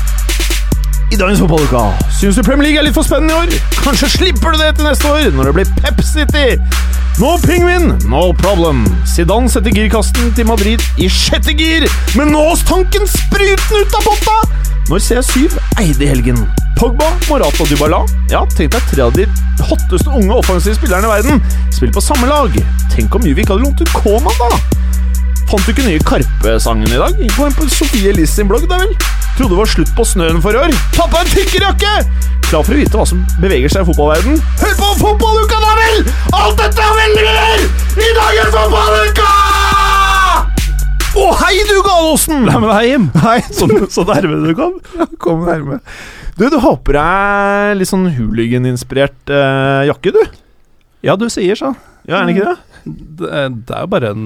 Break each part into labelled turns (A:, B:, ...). A: I dagens fotballuka syns du Premier League er litt for spennende i år? Kanskje slipper du det til neste år, når det blir Pep City! No pingvin, no problem. Zidane setter girkasten til Madrid i sjette gir, men nå ås tanken spruten ut av potta! Når CR7 eide i helgen. Pogba, Morata og Dybala. Ja, tenk deg tre av de hotteste unge offensive spillerne i verden spiller på samme lag. Tenk om Juvik hadde lånt ut Koma, da! Fant du ikke nye Karpe-sangen i dag? Gå inn på Sofie Elise sin blogg, da vel? Trodde det var slutt på snøen for i år. Pappa er en tykkerjakke! Klar for å vite hva som beveger seg i fotballverden? Hør på fotballuka, da vel! Alt dette og veldig mer i dagens fotballuka! Å, hei du, Galåsen! La meg deg hjem. Hei, så, så nærme du kom. Kom nærme. Du, du har på deg litt sånn hooligan-inspirert eh, jakke, du.
B: Ja, du sier så.
A: Ja, er det ikke det?
B: Det er det er jo bare en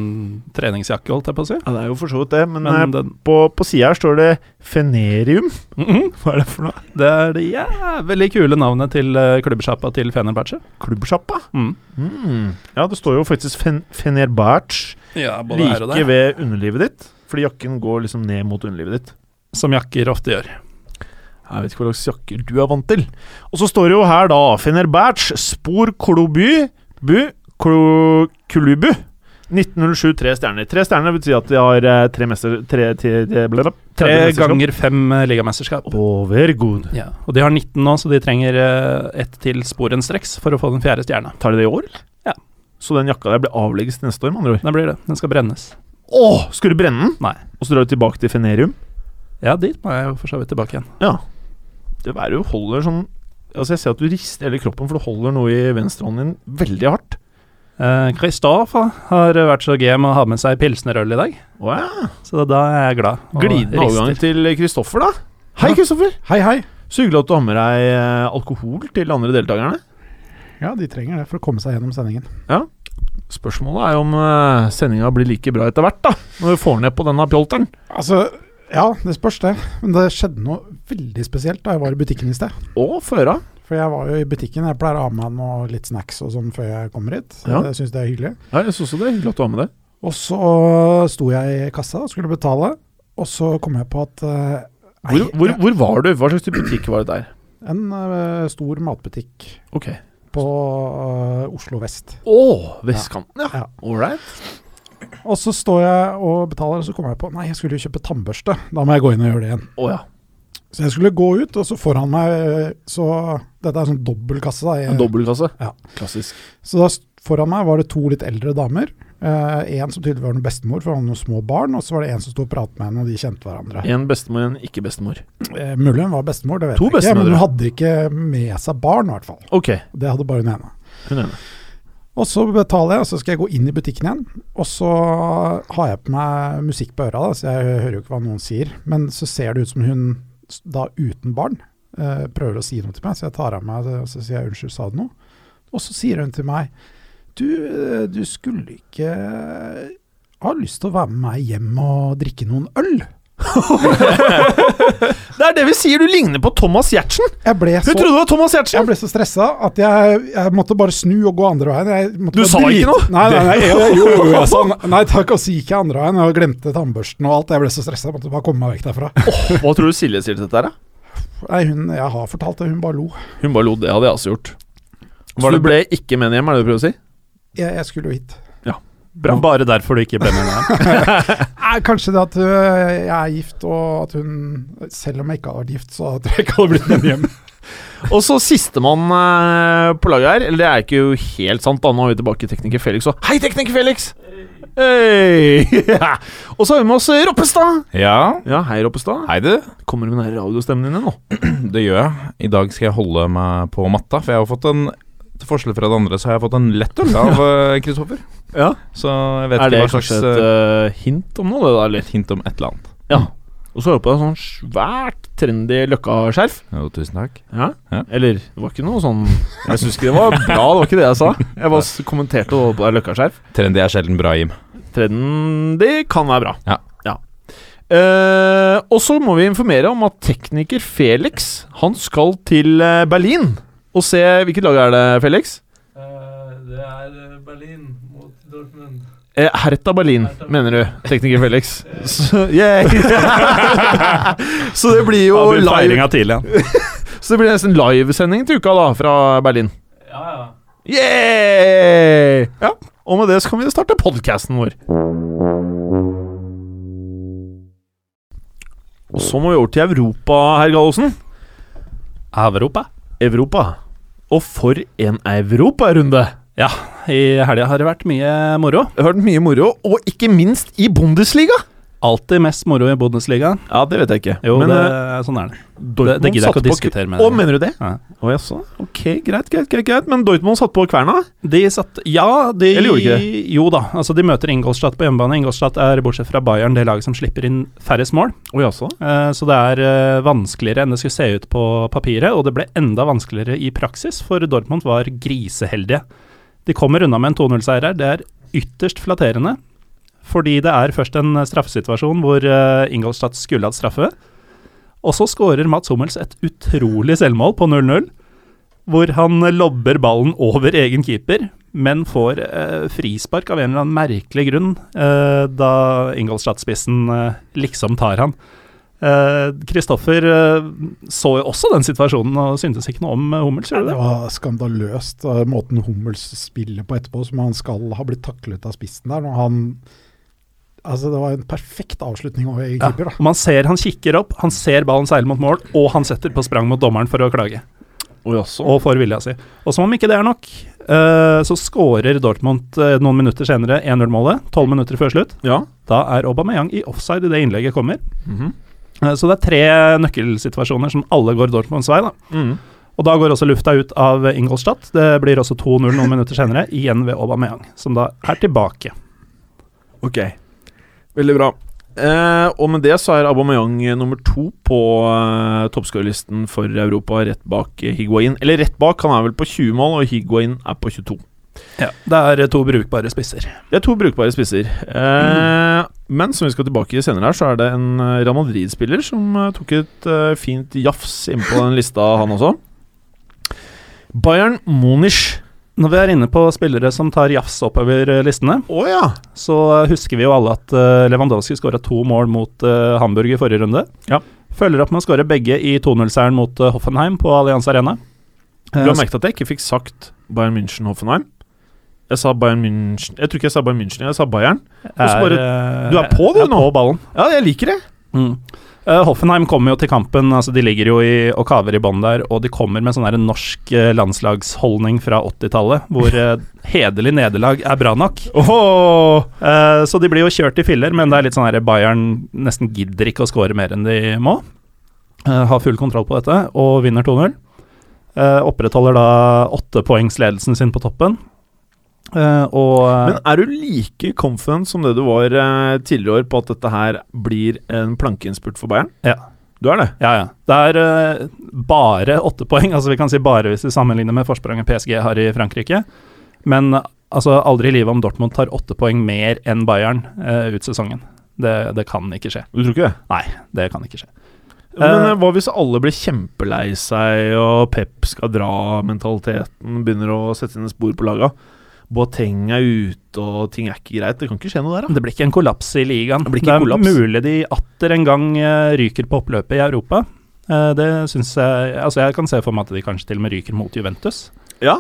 B: treningsjakke, holdt jeg på å si.
A: Ja, det er jo for så vidt det, men,
B: Men
A: eh,
B: den-
A: på, på sida her står det Fenerium.
B: Mhm.
A: Hva er det for noe?
B: Det er det jævlig kule navnet til eh, klubbsjappa til Fenerbahçe.
A: Klubbsjappa?
B: Mm.
A: Mm. Ja, det står jo faktisk fen Fenerbahçe
B: Ja, både her og
A: like
B: der.
A: ved underlivet ditt. Fordi jakken går liksom ned mot underlivet ditt.
B: Som jakker ofte gjør.
A: Jeg vet ikke hva slags jakker du er vant til. Og så står det jo her, da, Fenerbahçe Spor Klubu Bu Klu- Kulubu. 1907, tre stjerner. Tre stjerner vil si at de har eh, tre mester... Tre, tre, tre, ble det?
B: Tre
A: Tredje mesterskap.
B: ganger fem eh, ligamesterskap.
A: Å, very good.
B: Ja. Og de har 19 nå, så de trenger eh, ett til sporenstreks for å få den fjerde stjerna.
A: Tar de det i år, eller?
B: Ja.
A: Så den jakka der blir avlegges til neste år, med andre ord.
B: Det blir det. Den skal brennes.
A: Å, skal du brenne den?
B: Nei.
A: Og så drar du tilbake til Fenerium?
B: Ja, dit må jeg jo for så vidt tilbake igjen.
A: Ja. Det været jo holder sånn Altså, jeg ser at du rister hele kroppen, for du holder noe i venstrehånden din veldig hardt.
B: Eh, Kristoffer har vært så gem å ha med seg pilsnerøl i dag,
A: Wow.
B: så da er jeg glad. og
A: Glidende
B: rister.
A: overgang til Kristoffer, da. Hei,
C: Ja.
A: Kristoffer.
C: Hei, hei.
A: Så hyggelig at du har med deg eh, alkohol til de andre deltakerne.
C: Ja, de trenger det for å komme seg gjennom sendingen.
A: Spørsmålet er jo om eh, sendinga blir like bra etter hvert, da. Når vi får ned på denne pjolteren.
C: Altså, ja, det spørs det. Men det skjedde noe veldig spesielt da jeg var i butikken i sted.
A: Å, få høre.
C: For jeg var jo i butikken, jeg pleier å ha med meg noe litt snacks og sånn før jeg kommer hit.
A: Ja.
C: Jeg syns det er hyggelig.
A: Ja, jeg syns også det. er Hyggelig at du har med det.
C: Og så sto jeg i kassa og skulle betale, og så kom jeg på at eh, nei,
A: Hvor, hvor, hvor var du? Hva slags type butikk var det der?
C: En eh, stor matbutikk
A: Ok.
C: på eh, Oslo vest.
A: Å, vestkanten, ja.
C: Ja.
A: All right.
C: Og så står jeg og betaler, og så kommer jeg på nei, jeg skulle jo kjøpe tannbørste. Da må jeg gå inn og gjøre det igjen.
A: Å ja.
C: Så jeg skulle gå ut, og så foran meg Så dette er sånn dobbel kasse. Da.
A: En
C: Jeg,
A: dobbeltkasse.
C: Ja.
A: Klassisk.
C: så da s- foran meg var det to litt eldre damer. Eh, en som tydeligvis var noen bestemor, for han hadde noen små barn. Og så var det en som sto og pratet med henne, og de kjente hverandre.
A: En bestemor, en ikke-bestemor.
C: Eh, mulig hun var bestemor, det vet
A: To
C: jeg ikke. Men
A: bestemødre.
C: hun hadde ikke med seg barn, i hvert fall.
A: Ok,
C: Det hadde bare hun ene.
A: hun ene.
C: Og så betaler jeg, og så skal jeg gå inn i butikken igjen. Og så har jeg på meg musikk på øra, da, så jeg hører jo ikke hva noen sier. Men så ser det ut som hun, s- da uten barn, eh, prøver å si noe til meg. Så jeg tar av meg det, og så sier jeg unnskyld, sa du noe? Og så sier hun til meg du, eh, du skulle ikke ha lyst til å være med meg hjem og drikke noen øl?
A: Det er det vi sier, du ligner på Thomas Giertsen!
C: Jeg ble
A: Hun
C: så
A: trodde det var Thomas
C: jeg
A: Giertsen!
C: ble så stressa at jeg, jeg måtte bare snu og gå andre veien. Jeg måtte
A: Du
C: bare
A: sa ikke
C: drite-
A: noe?
C: Nei, nei, nei, jeg- jo, jo, jeg sa n- nei takk, og så gikk jeg andre veien og glemte tannbørsten og alt. Jeg ble så stressa, jeg måtte bare komme meg vekk derfra.
A: Hva tror du Silje sier til dette her, da?
C: Nei, hun, jeg har fortalt det, hun bare lo.
A: Hun bare lo, det hadde jeg også gjort. Så
B: Var det
A: du ble ikke med hjem, er det du prøver å si?
C: Jeg, jeg skulle jo hit.
B: Bra. Bare derfor du ikke brenner den.
C: Nei, kanskje det at øh, jeg er gift, og at hun Selv om jeg ikke hadde vært gift, så tror jeg ikke hadde blitt med hjem.
A: Og så sistemann eh, på laget her, eller det er ikke jo helt sant, da nå er vi tilbake i Tekniker Felix, og hei, Tekniker Felix! Hei! og så har vi med oss eh, Roppestad.
D: Ja,
A: Ja, hei, Roppestad.
D: hei du.
A: Kommer du med den her radiostemmen din igjen nå?
D: Det gjør jeg. I dag skal jeg holde meg på matta, for jeg har fått en Til forskjell fra det andre, så har jeg fått en lettøl av eh, Kristoffer.
A: Ja.
D: Så jeg vet
A: Er det
D: ikke hva slags
A: kanskje et
D: eh,
A: eh, hint om noe, det da, eller?
D: hint om et eller annet.
A: Ja. Og så har jeg på deg sånn svært trendy Løkka-skjerf.
D: Jo, tusen takk.
A: Ja.
D: Ja.
A: Eller det var ikke noe sånn Jeg syns ikke det var bra, det var ikke det jeg sa. Jeg bare s- kommenterte det på Løkka-skjerf.
D: Trendy er sjelden bra, Jim.
A: Trendy kan være bra.
D: Ja.
A: Eh, og så må vi informere om at tekniker Felix Han skal til eh, Berlin og se Hvilket lag er det, Felix?
E: Eh, Det er Berlin mot Dortmund.
A: Eh, Hertha Berlin, mener du, tekniker Felix. Så, yay. så det blir jo
B: Og
A: live
B: feiringa tidlig igjen.
A: Så det blir nesten livesending til uka da, fra Berlin.
E: Ja, ja.
A: Yeah! Ja, og med det så kan vi starte podcasten vår. Og så må vi over til Europa, herr Gallosen.
B: Europa.
A: Europa. Og for en Europa-runde!
B: I helga har det vært mye moro.
A: Jeg har hørt mye moro, og ikke minst i Bundesliga!
B: Alltid mest moro i Bundesliga.
A: Ja, det vet jeg ikke.
B: Jo,
A: Men
B: det,
A: eh,
B: sånn er det. Det,
A: Dortmund
B: det gidder jeg ikke å
A: satte på-
B: diskutere med
A: Å, mener du det?
B: Ja.
A: Å, jaså. Ok, greit, greit, greit, greit. Men Dortmund satt på kverna?
B: De satt Ja, de
A: Eller gjorde ikke
B: Jo da. Altså, de møter Ingolstadt på hjemmebane. Ingolstadt er, bortsett fra Bayern, det laget som slipper inn færrest mål.
A: Å, jaså.
B: Eh, Så det er eh, vanskeligere enn det skulle se ut på papiret, og det ble enda vanskeligere i praksis, for Dortmund var griseheldige. De kommer unna med en 2-0-seier her. Det er ytterst flatterende, fordi det er først en eh, straffesituasjon hvor eh, Ingolstadt skulle hatt straffe, og så skårer Mats Hummels et utrolig selvmål på 0-0, hvor han eh, lobber ballen over egen keeper, men får eh, frispark av en eller annen merkelig grunn eh, da Ingolstadt-spissen eh, liksom tar han. Eh, Kristoffer eh, så jo også den situasjonen og syntes ikke noe om eh, Hummels,
C: Ja,
B: gjorde du
C: det
B: det?
C: var skandaløst, eh, måten Hummels spiller på etterpå, som han skal ha blitt taklet av spissen der. Når han Altså, det var en perfekt avslutning over egen
B: Ja,
C: keeper,
B: og man ser han kikker opp, han ser ballen seile mot mål, og han setter på sprang mot dommeren for å klage.
A: Å, jaså.
B: Og får vilja si. Og som om ikke det er nok, eh, så skårer Dortmund eh, noen minutter senere 1-0-målet, tolv minutter før slutt.
A: Ja.
B: Da er Aubameyang i offside i det innlegget kommer.
A: Mhm.
B: Eh, Så det er tre nøkkelsituasjoner som alle går Dortmunds vei. da.
A: Mm.
B: Og da går også lufta ut av Ingolstadt. Det blir også 2-0 noen minutter senere, igjen ved Aubameyang, som da er tilbake.
A: Ok. Veldig bra. Eh, og med det så er Aubameyang eh, nummer to på eh, toppskårerlisten for Europa, rett bak eh, Higuain. Eller rett bak, han er vel på 20 mål, og Higuain er på 22.
B: Det er to brukbare spisser.
A: Det er to brukbare spisser. Eh, Men som vi skal tilbake til senere, her, så er det en eh, Real Madrid-spiller som eh, tok et eh, fint jafs inn på den lista, han også. Bayern Munich.
B: Når vi er inne på spillere som tar jafs oppover eh, listene,
A: Å ja!
B: så eh, husker vi jo alle at eh, Lewandowski skåra to mål mot eh, Hamburg i forrige runde.
A: Ja.
B: Følger opp med å skåre begge i 2-0-seieren mot eh, Hoffenheim på Allianz Arena.
A: Du
B: Eh,
A: har merket at jeg ikke fikk sagt Bayern München-Hoffenheim? Jeg sa Bayern München Jeg tror ikke jeg sa Bayern München, jeg sa Bayern. Og så
B: eh,
A: Du er på, du,
B: jeg
A: nå.
B: På ballen.
A: Ja, jeg liker det.
B: Mm. Eh, Hoffenheim kommer jo til kampen, altså de ligger jo i, og kaver i bånn der, og de kommer med sånn her norsk eh, landslagsholdning fra 80-tallet, hvor eh, hederlig nederlag er bra nok. Eh, så de blir jo kjørt i filler, men det er litt sånn her Bayern nesten gidder ikke å score mer enn de må. Eh, har full kontroll på dette, og vinner 2-0. Eh, opprettholder da åttepoengsledelsen sin på toppen. Eh, og eh,
A: Men er du like confident som det du var eh, tidligere år på at dette her blir en plankeinnspurt for Bayern?
B: Ja.
A: Du er det?
B: Ja, ja. Det er eh, bare åtte poeng. Altså, vi kan si bare hvis vi sammenligner med forspranget PSG har i Frankrike. Men eh, altså, aldri i livet om Dortmund tar åtte poeng mer enn Bayern eh, ut sesongen. Det, det kan ikke skje.
A: Du tror ikke det?
B: Det kan ikke skje.
A: Men
B: Eh,
A: eh, hva hvis alle blir kjempelei seg, og Pep skal dra-mentaliteten begynner å sette sine spor på laga? Boateng er ute, og ting er ikke greit. Det kan ikke skje noe der, da.
B: Det blir ikke en kollaps i ligaen.
A: Det
B: Det,
A: blir ikke
B: er
A: kollaps.
B: mulig de atter en gang eh, ryker på oppløpet i Europa. Eh, det syns jeg Altså, jeg kan se for meg at de kanskje til og med ryker mot Juventus.
A: Ja.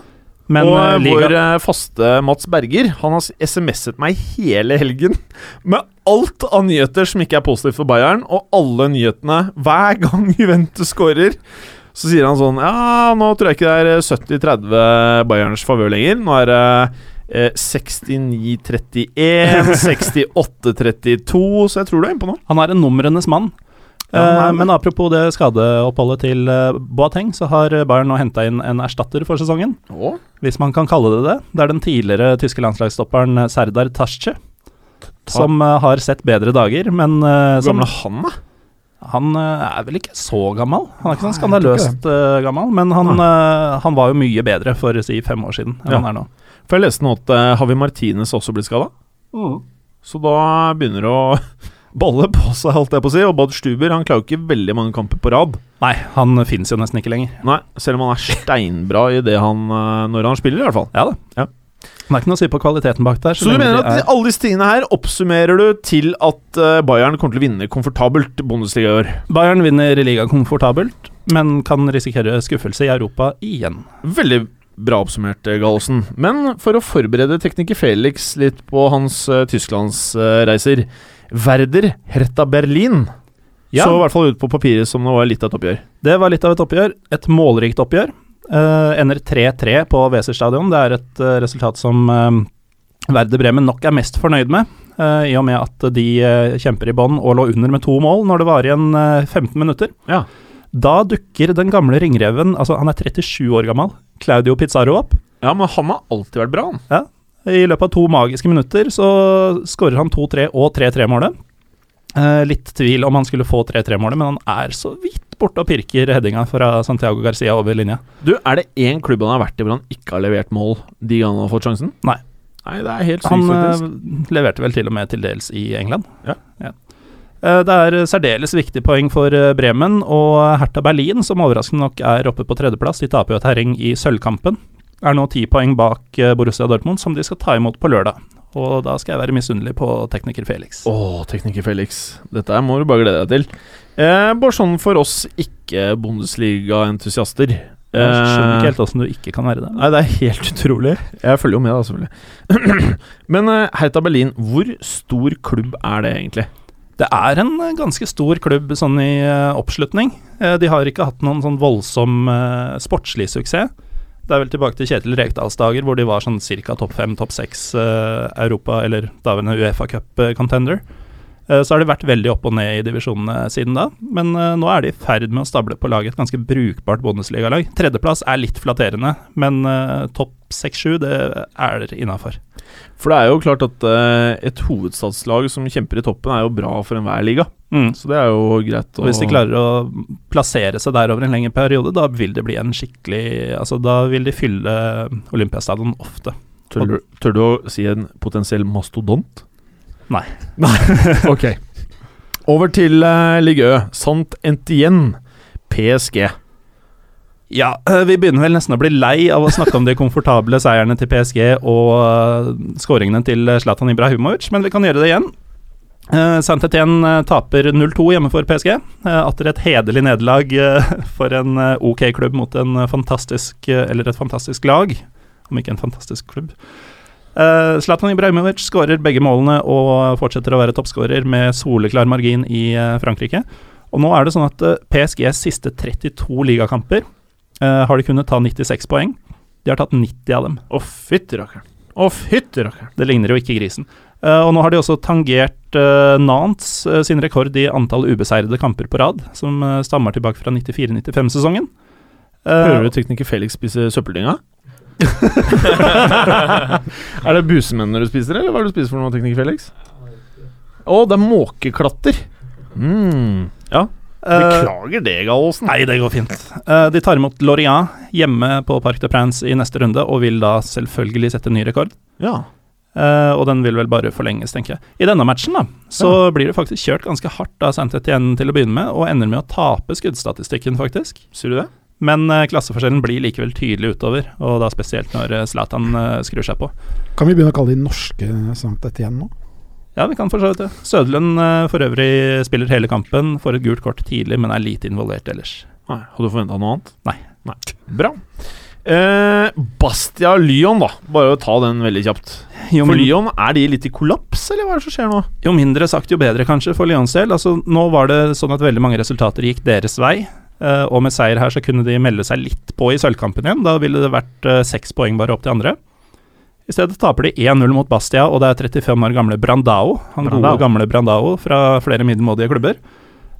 B: Men
A: og
B: eh,
A: eh,
B: ligaen-
A: vår eh, faste Mats Berger Han har SMS-et meg hele helgen med alt av nyheter som ikke er positivt for Bayern, og alle nyhetene hver gang Juventus scorer. Så sier han sånn Ja, nå tror jeg ikke det er 70-30 Bayerns favør lenger. Nå er det eh, 69-31, 68-32, så jeg tror du er innpå nå.
B: Han er en numrenes mann.
A: Ja, han er
B: Eh,
A: det.
B: men apropos det skadeoppholdet til eh, Boateng, så har Bayern nå henta inn en erstatter for sesongen. Hvis man kan kalle det det. Det er den tidligere tyske landslagsstopperen eh, Serdar Tasce. Som eh, har sett bedre dager, men eh,
A: Hvor
B: som,
A: gammel er han, da?
B: Han eh, er vel ikke så gammel. Han er ikke sånn
C: Nei, jeg tror
B: skandaløst eh, gammel, men han, eh, han var jo mye bedre for å si fem år siden enn
A: Ja.
B: han er nå.
A: For jeg leste nå at eh, Javi Martinez også blir skada. Mm. Så da begynner det å balle på seg, holdt jeg på å si. Og Bad Stuber han klarer jo ikke veldig mange kamper på rad.
B: Nei, han fins jo nesten ikke lenger.
A: Nei, Selv om han er steinbra i det han eh, når han spiller, i hvert fall.
B: Ja da.
A: Ja.
B: Det er ikke noe å si på kvaliteten bak der.
A: Så du
B: lenge
A: mener
B: de
A: at
B: er-
A: alle disse tingene her oppsummerer du til at eh, Bayern kommer til å vinne komfortabelt Bundesliga i år?
B: Bayern vinner ligaen komfortabelt, men kan risikere skuffelse i Europa igjen.
A: Veldig bra oppsummert, eh, Gallosen. Men for å forberede tekniker Felix litt på hans uh, tysklandsreiser Werder Hertha Berlin
B: Ja.
A: så i hvert fall ut på papiret som det var litt av et oppgjør.
B: Det var litt av et oppgjør. Et målrikt oppgjør. Eh, ender 3-3 på Weser stadion. Det er et eh, resultat som eh, Werder Bremen nok er mest fornøyd med, eh, i og med at de eh, kjemper i bånn og lå under med to mål når det var igjen eh, 15 minutter.
A: Ja.
B: Da dukker den gamle ringreven, altså han er 37 år gammel, Claudio Pizarro opp.
A: Ja, men han har alltid vært bra, han.
B: I løpet av to magiske minutter så skårer han 2-3 og 3-3-målet. Eh, litt tvil om han skulle få 3-3-målet, men han er så vidt borte og pirker headinga fra Santiago Garcia over linja.
A: Du, Er det én klubb han har vært i hvor han ikke har levert mål de gangene han har fått sjansen?
B: Nei.
A: Nei, det er helt sykt,
B: Han eh,
A: faktisk.
B: leverte vel til og med til dels i England.
A: Ja.
B: Eh, Det er særdeles viktig poeng for eh, Bremen og Hertha Berlin, som overraskende nok er oppe på tredjeplass. De taper jo et herring i sølvkampen. Er nå ti poeng bak eh, Borussia Dortmund, som de skal ta imot på lørdag. Og da skal jeg være misunnelig på tekniker Felix.
A: Å, tekniker Felix. Dette her må du bare glede deg til. Eh, bare sånn for oss ikke-Bundesliga-entusiaster.
B: Jeg skjønner ikke
A: Eh,
B: helt åssen du ikke kan være det.
A: Nei, det er helt utrolig. Jeg følger jo med, da, selvfølgelig. Men eh, Hertha Berlin, hvor stor klubb er det egentlig?
B: Det er en eh, ganske stor klubb sånn i eh, oppslutning. Eh, De har ikke hatt noen sånn voldsom eh, sportslig suksess. Det er vel tilbake til Kjetil Rekdals dager, hvor de var sånn ca. topp fem, topp seks eh, Europa, eller daværende Uefa Cup-contender. Eh, Så har de vært veldig opp og ned i divisjonene siden da, men eh, nå er de i ferd med å stable på laget et ganske brukbart Bundesliga-lag. Tredjeplass er litt flatterende, men eh, topp seks-sju, det er innafor.
A: For det er jo klart at eh, et hovedstadslag som kjemper i toppen, er jo bra for enhver liga.
B: Mm.
A: Så det er jo greit å
B: Og hvis de klarer å plassere seg der over en lengre periode, da vil det bli en skikkelig Altså, da vil de fylle Olympiastadion ofte.
A: Tør du, tør du å si en potensiell mastodont?
B: Nei.
A: Nei, ok. Over til uh, Ligø. Sant Entien, PSG.
B: Ja, eh, vi begynner vel nesten å bli lei av å snakke om de komfortable seierne til PSG og eh, skåringene til eh, Zlatan Ibrahimovic, men vi kan gjøre det igjen. Uh, Saint-Étienne eh, taper 0-2 hjemme for PSG. Eh, atter et hederlig nederlag eh, for en eh, ok klubb mot en eh, fantastisk eh, Eller et fantastisk lag, om ikke en fantastisk klubb. Eh, Zlatan Ibrahimovic skårer begge målene og fortsetter å være toppskårer med soleklar margin i eh, Frankrike. Og nå er det sånn at eh, PSGs siste 32 ligakamper eh, har de kunnet ta 96 poeng. De har tatt 90 av dem.
A: Å, fytti rakkeren. Å, fytti rakkeren.
B: Det ligner jo ikke grisen. Eh, og nå har de også tangert eh, Nantes eh, sin rekord i antall ubeseirede kamper på rad, som eh, stammer tilbake fra Eh, 94-95-sesongen.
A: Hører du Eh, tekniker Felix spise søppeldynga? er det busemennene du spiser, eller hva er det du spiser for noe, tekniker Felix? Å, det er måkeklatter. Mm. Ja,
B: Eh,
A: beklager det, Gallosen.
B: Nei, det går fint. Eh, de tar imot Lorient hjemme på Parc de Prince i neste runde, og vil da selvfølgelig sette ny rekord.
A: Ja.
B: Eh, og den vil vel bare forlenges, tenker jeg. I denne matchen da, så blir det faktisk kjørt ganske hardt av Saint-Étienne til å begynne med, og ender med å tape skuddstatistikken, faktisk.
A: Sier du det?
B: Men eh, klasseforskjellen blir likevel tydelig utover, og da spesielt når eh, Zlatan eh, skrur seg på.
C: Kan vi begynne å kalle de norske Sankt Etienne nå?
B: Ja, vi kan for så vidt det. Søderlund eh, for øvrig spiller hele kampen, får et gult kort tidlig, men er lite involvert ellers.
A: Nei, Hadde du forventa noe annet?
B: Nei.
A: Nei. Bra. Eh, Bastia Lyon, da. Bare å ta den veldig kjapt.
B: Jo,
A: For
B: min-
A: Lyon, er de litt i kollaps, eller hva er det som skjer nå?
B: jo mindre sagt, jo bedre, kanskje, for Lyons del. Altså, nå var det sånn at veldig mange resultater gikk deres vei, eh, og med seier her så kunne de melde seg litt på i sølvkampen igjen. Da ville det vært eh, seks poeng bare opp til andre. I stedet taper de 1-0 mot Bastia, og det er 35 år gamle Brandao, han
A: Brandao.
B: gode gamle Brandao fra flere middelmådige klubber,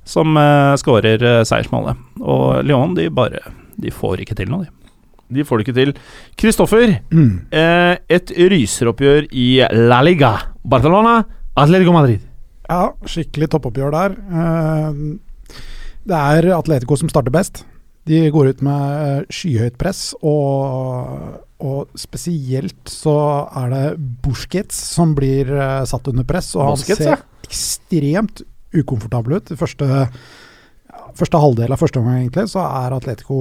B: som eh, skårer eh, seiersmålet. Og Lyon, de bare De får ikke til noe, de.
A: De får det ikke til. Kristoffer, eh, et ryseroppgjør i La Liga. Barcelona, Atletico Madrid.
C: Ja, skikkelig toppoppgjør der. Eh, Det er Atletico som starter best. De går ut med eh, skyhøyt press, og, og spesielt så er det Busquets som blir eh, satt under press. Og han
A: Busquets,
C: ser
A: ja.
C: ekstremt ukomfortabel ut. I første, ja, første halvdel av første omgang, egentlig, så er Atletico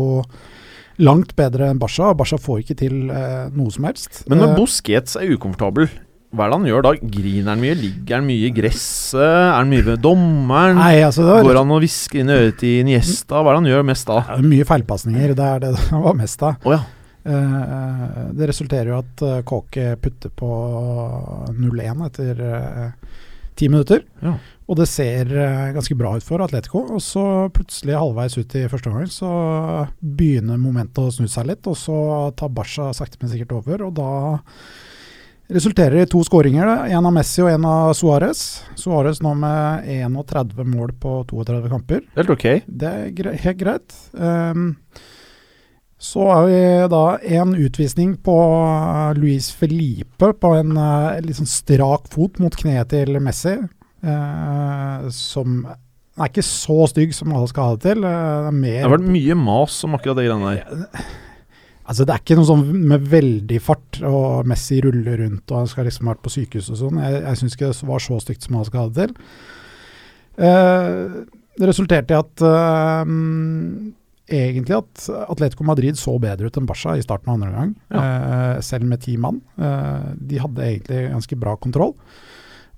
C: langt bedre enn Barca. og Barca får ikke til eh, noe som helst.
A: Men
C: Eh,
A: når Busquets er ukomfortabel, hva er det han gjør da? Griner han mye? Ligger han mye i gresset? Er han mye ved dommeren?
C: Nei, altså, det var
A: Går han og hvisker inn i øret til Niesta? Hva er det han gjør mest da?
C: Ja, det er mye feilpasninger. Det er det det var mest av.
A: Å ja.
C: Eh, det resulterer jo at eh, Kåke putter på 0-1 etter eh, ti minutter.
A: Ja.
C: Og det ser eh, ganske bra ut for Atletico. Og så plutselig halvveis ut i første omgang så begynner momentet å snu seg litt, og så tar Barca sakte, men sikkert over. Og da resulterer det i to skåringer. det. En av Messi og en av Suárez. Suárez nå med 31 mål på 32 kamper.
A: Helt ok.
C: Det er gre helt greit. Ehm, så har vi da en utvisning på eh, Luis Felipe på en eh, litt sånn strak fot mot kneet til Messi, eh, som er ikke så stygg som alle skal ha det til. eh, det er
A: Det
C: mer
A: har vært mye mas om akkurat det greiene der.
C: Altså, det er ikke noe sånn med veldig fart, og Messi ruller rundt og han skal liksom ha vært på sykehus og sånn. Jeg, jeg syns ikke det var så stygt som han skal ha det til. Eh, det resulterte i at eh, egentlig at Atletico Madrid så bedre ut enn Barca i starten av andre omgang, eh, selv med ti mann. Eh, de hadde egentlig ganske bra kontroll.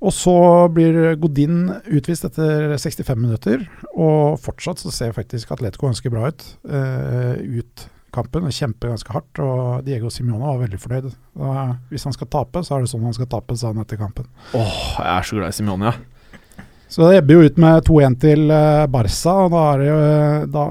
C: Og så blir Godin utvist etter 65 minutter, og fortsatt så ser faktisk Atletico ganske bra ut. eh, ut kampen og kjemper ganske hardt. Og Diego Simione var veldig fornøyd. Da, hvis han skal tape, så er det sånn han skal tape, sa han etter kampen.
A: Åh, jeg er så glad i Simione, ja.
C: Så det ebber jo ut med 2-1 til eh, Barca, og da, er det, jo- eh, da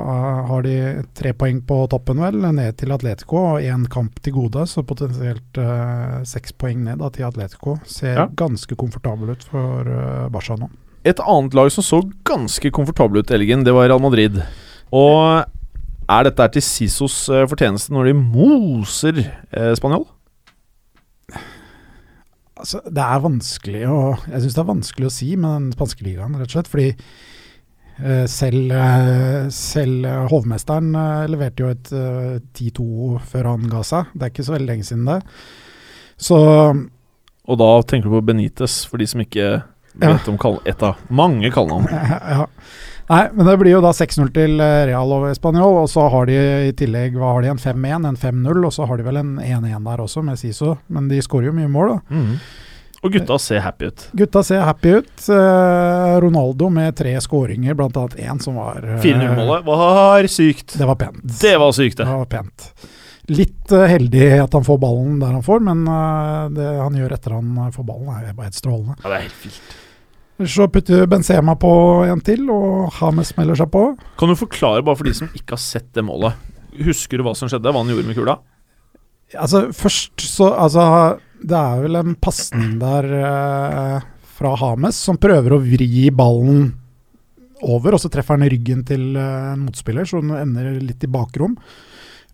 C: har de tre poeng på toppen, vel, ned til Atletico og én kamp til gode, så potensielt eh, seks poeng ned da, til Atletico. Ser
A: Ja.
C: ganske komfortabel ut for eh, Barca nå.
A: Et annet lag som så ganske komfortable ut, Elgen, det var Real Madrid. Og er dette her til Sisos eh, fortjeneste når de moser eh, spanjol?
C: Altså, det er vanskelig å Jeg syns det er vanskelig å si med den spanske ligaen, rett og slett. Fordi eh, selv, eh, selv eh, hovmesteren eh, leverte jo et eh, 10-2 før han ga seg. Det er ikke så veldig lenge siden det. Så
A: Og da tenker du på Benitez, for de som ikke
C: Ja.
A: vet om kall et av mange kallenavn.
C: ja. Nei, men det blir jo da 6-0 til eh, Real over Spanjol, og så har de i tillegg hva har de, en 5-1, en 5-0, og så har de vel en 1-1 der også, med Siso. Men de skårer jo mye mål, da.
A: Mhm. Og gutta ser happy ut.
C: Gutta ser happy ut. Eh, Ronaldo med tre skåringer, bl.a. én som var eh,
A: 4-0-målet var sykt.
C: Det var pent.
A: Det var sykt,
C: Det
A: det.
C: var pent. Litt eh, heldig at han får ballen der han får, men eh, det han gjør etter han eh, får ballen, er bare helt strålende.
A: Ja, det er helt vilt.
C: Så putter Benzema på en til, og Hames melder seg på.
A: Kan du forklare, bare for de som ikke har sett det målet Husker du hva som skjedde? Hva han gjorde med kula?
C: Altså, først så Altså, det er vel en pasning der eh, fra Hames som prøver å vri ballen over, og så treffer han ryggen til eh, en motspiller, så den ender litt i bakrom.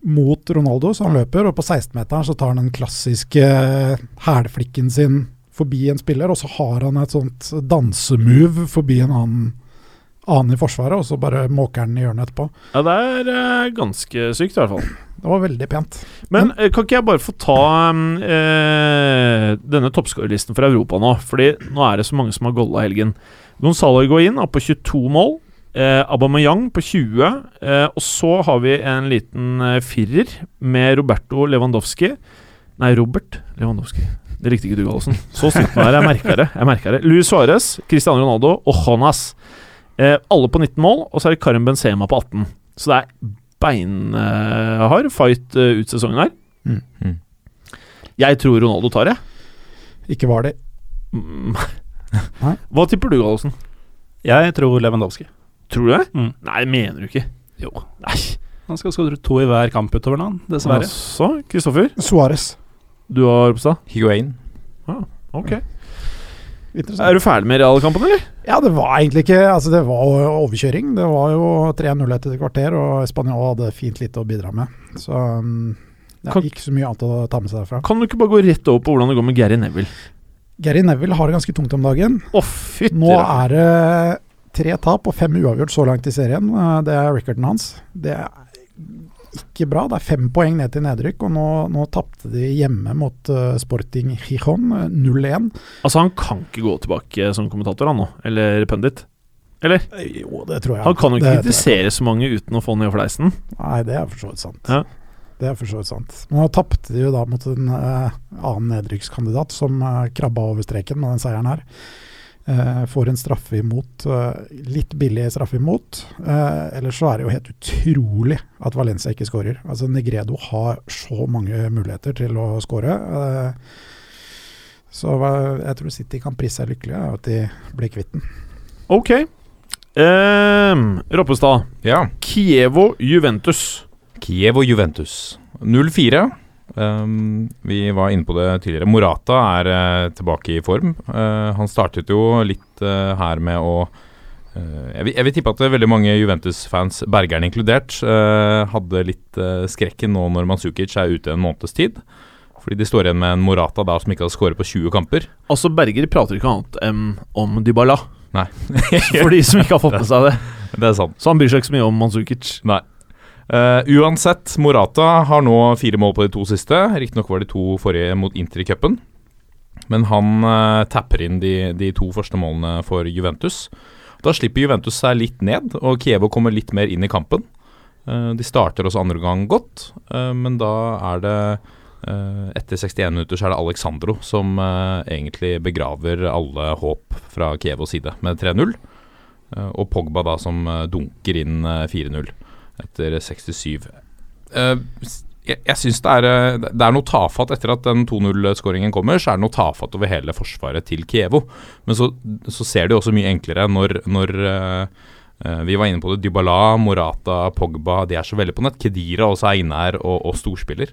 C: Mot Ronaldo, så han løper, og på 16-meteren så tar han den klassiske eh, hælflikken sin forbi en spiller, og så har han et sånt dansemove forbi en annen, annen i forsvaret, og så bare måker han i hjørnet etterpå.
A: Ja, det er eh, ganske sykt, i hvert fall.
C: Det var veldig pent.
A: Men eh, kan ikke jeg bare få ta em, eh, denne toppskårerlisten for Europa nå? Fordi nå er det så mange som har golla i helgen. Gonzalo Higuain er på 22 mål. Eh, Aubameyang på 20. Eh, og så har vi en liten eh, firer med Roberto Lewandowski. Nei, Robert Lewandowski. Det likte ikke du, Gallosen. Så sulten er jeg. jeg merker det. Jeg merker det. Luis Suárez, Cristiano Ronaldo og Jonas. Eh, alle på 19 mål, og så er det Karim Benzema på 18. Så det er beinhard fight eh, ut sesongen her.
C: Mm.
D: Mm.
A: Jeg tror Ronaldo tar det.
C: Ikke var det.
A: Mm.
C: Nei.
A: Hva tipper du, Gallosen?
B: Jeg tror Lewandowski.
A: Tror du det?
B: Mm.
A: Nei, mener du ikke? Jo. Nei.
B: Han skal skåre to i hver kamp utover nå, dessverre.
A: Altså, Kristoffer,
C: Suárez.
A: du har Ropstad.
D: Higuain.
A: Ok.
C: Interessant.
A: Er du ferdig med realkampen, eller?
C: Ja, det var egentlig ikke Altså, det var jo overkjøring. Det var jo 3-0 etter et kvarter, og Spania hadde fint lite å bidra med. Så um, det
A: Kan-
C: er ikke så mye annet å ta med seg derfra.
A: Kan du ikke bare gå rett over på hvordan det går med Gary Neville?
C: Gary Neville har det ganske tungt om dagen.
A: Å, fytti
C: Nå er det Tre tap og fem uavgjort så langt i serien. Eh, Det er recorden hans. Det er ikke bra. Det er fem poeng ned til nedrykk, og nå, nå tapte de hjemme mot eh, Sporting Gijon eh, 0-1.
A: Altså, han kan ikke gå tilbake som kommentator, han nå. Eller pundit. Eller?
C: Eh, Jo, det tror jeg.
A: Han kan jo ikke
C: Det- det-
A: kritisere så mange uten å få ned fleisen.
C: Nei, det er for så vidt sant.
A: Ja.
C: Det er for så vidt sant. Men nå tapte de jo da mot en eh, annen nedrykkskandidat som eh, krabba over streken med den seieren her. Eh, får en straffe imot, eh, litt billig straffe imot. Eh, ellers så er det jo helt utrolig at Valencia ikke skårer. Altså Negredo har så mange muligheter til å skåre. Eh, så hva- jeg tror City kan prise seg lykkelige av at de blir kvitt den.
A: Ok. Ehm, Roppestad.
D: Ja.
A: Kievo Juventus.
D: Kiev og Juventus. 0-4. Um, vi var inne på det tidligere. Morata er eh, tilbake i form. Eh, han startet jo litt eh, her med å eh, jeg, vil, jeg vil tippe at det er veldig mange Juventus-fans, Bergeren inkludert, eh, hadde litt eh, skrekken nå når Manzukic er ute en måneds tid. Fordi de står igjen med en Morata da som ikke har skåret på 20 kamper.
A: Altså, Berger prater ikke annet enn om Dybala,
D: Nei,
A: for de som ikke har fått med seg det.
D: det er sant.
A: Så han bryr seg ikke så mye om Manzukic.
D: Eh, uansett, Morata har nå fire mål på de to siste. Riktignok var de to forrige mot Inter i cupen. Men han eh, tapper inn de, de to første målene for Juventus. Da slipper Juventus seg litt ned, og Kievo kommer litt mer inn i kampen. Eh, de starter også andre gang godt, eh, men da er det eh, Etter 61 minutter så er det Alexandro som eh, egentlig begraver alle håp fra Kievos side med 3-0. eh, og Pogba da som eh, dunker inn eh, 4-0 etter 67. Eh, s- jeg jeg syns det, er, eh, det er noe tafatt etter at den 2-0-skåringen kommer, så er det noe tafatt over hele forsvaret til Kievo. Men så, så ser det jo også mye enklere når, når eh, eh, vi var inne på det. Dybala, Morata, Pogba, de er så veldig på nett. Kedira også er inne her, og, og storspiller.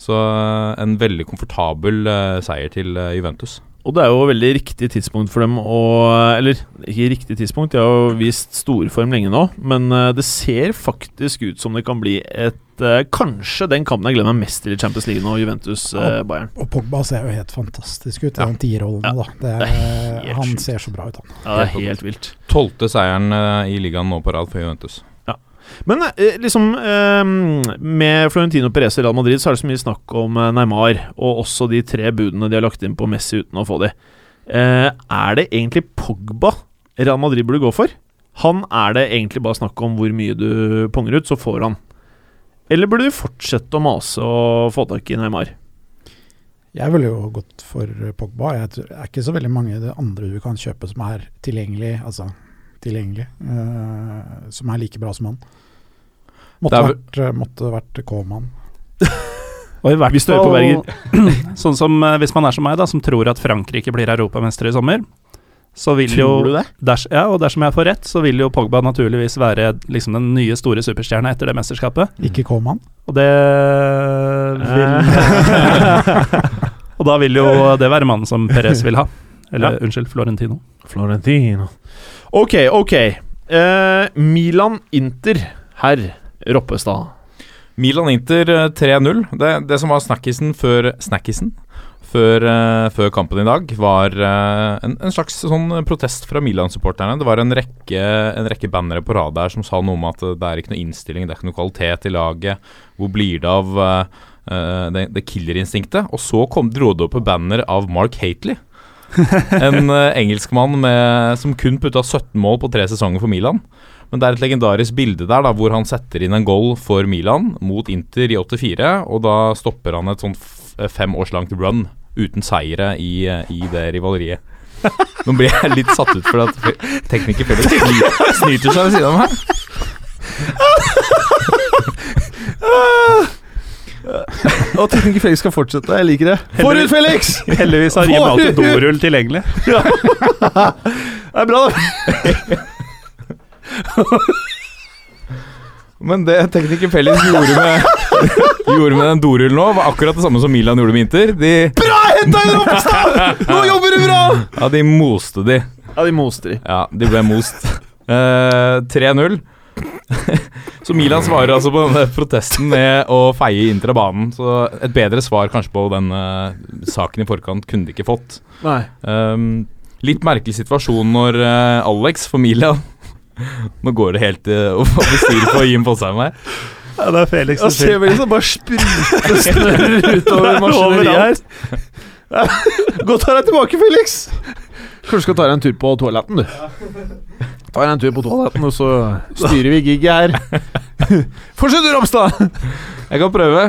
D: Så eh, en veldig komfortabel eh, seier til eh, Juventus.
A: Og det er jo veldig riktig tidspunkt for dem å Eller ikke riktig tidspunkt, de har jo vist storform lenge nå, men eh, det ser faktisk ut som det kan bli et eh, Kanskje den kampen jeg gleder meg mest til i Champions League nå, eh, Juventus-Bayern.
C: Og Pogba ser jo helt fantastisk ut i
A: Ja.
C: den tierrollen.
A: Ja.
C: da. Det
A: Det
C: er, eh,
A: er helt
C: han
A: sjukt.
C: ser så bra ut, han.
A: ja, det er helt vilt.
D: Tolvte seieren eh, i ligaen nå på rad for Juventus.
A: Men eh, liksom eh, Med Florentino Perez i Real Madrid så er det så mye snakk om eh, Neymar, og også de tre budene de har lagt inn på Messi uten å få de. Eh, er det egentlig Pogba Real Madrid burde gå for? Han er det egentlig bare snakk om hvor mye du ponger ut, så får han. Eller burde du fortsette å mase og få tak i Neymar?
C: Jeg ville jo gått for Pogba. Jeg tror, det er ikke så veldig mange det andre du kan kjøpe som er tilgjengelig, altså tilgjengelig, eh, som er like bra som han.
D: Det
C: Måtte
D: er
C: vært, eh, måtte vært K-mann.
B: Og i hvert
A: Hvis du hører på,
B: fall- sånn som eh, hvis man er som meg, da, som tror at Frankrike blir europamester i sommer, så vil jo
A: Tror du det?
B: ders, Ja, og dersom jeg får rett, så vil jo Pogba naturligvis være liksom den nye store superstjerna etter det mesterskapet.
D: Mm.
C: Ikke K-mann.
B: Og det vil Og da vil jo det være mannen som Perez vil ha. Eller unnskyld, Florentino.
A: Florentino. Ok, ok. Eh, Milan-Inter herr Roppestad.
D: Milan-Inter eh, 3-0. Det, det som var snakkisen før snakkisen før, eh, før kampen i dag, var eh, en, en slags sånn protest fra Milan-supporterne. Det var en rekke, en rekke bannere på rad der som sa noe om at eh, det er ikke noe innstilling, det er ikke noe kvalitet i laget. Hvor blir det av eh, eh, det, det killerinstinktet? Og så kom, dro det opp et banner av Mark Hateley. en eh, engelskmann med, som kun putta 17 mål på tre sesonger for Milan. Men det er et legendarisk bilde der da, hvor han setter inn en goal for Milan mot Inter i 84, og da stopper han et sånt f- fem års langt run uten seire i, i det rivaleriet. Nå blir jeg litt satt ut for at fe- tekniker Felix sny- snyter seg ved siden av meg.
A: Og tekniker Felix skal fortsette. Jeg liker det.
B: Forut,
A: Felix!
B: Heldigvis har Jim alltid dorull tilgjengelig.
A: Det er bra, da.
D: Men det tekniker Felix gjorde med, gjorde med den dorullen nå, var akkurat det samme som Milan gjorde med Inter. De,
A: Nå jobber du bra!
D: ja, de moste de.
A: Ja, de moster i.
D: Ja, de ble most. Eh, 3-0. så Milan svarer altså på denne protesten med å feie inn til banen. Så et bedre svar kanskje på den eh, saken i forkant kunne de ikke fått. Um,
A: Nei.
D: Ehm, litt merkelig situasjon når eh, Alex for Milan Nå går det helt eh, over styr på Jim Fosheim her.
B: Ja, det er Felix
A: Og ser vi liksom bare sprute snørr utover
B: Det er
A: maskineriet her. Gå og ta deg tilbake, Felix! Kanskje du skal ta deg en tur på toaletten, du. Ta deg en tur på toaletten, og så styrer vi giget her. Fortsett, du, Ropstad!
D: Jeg kan prøve.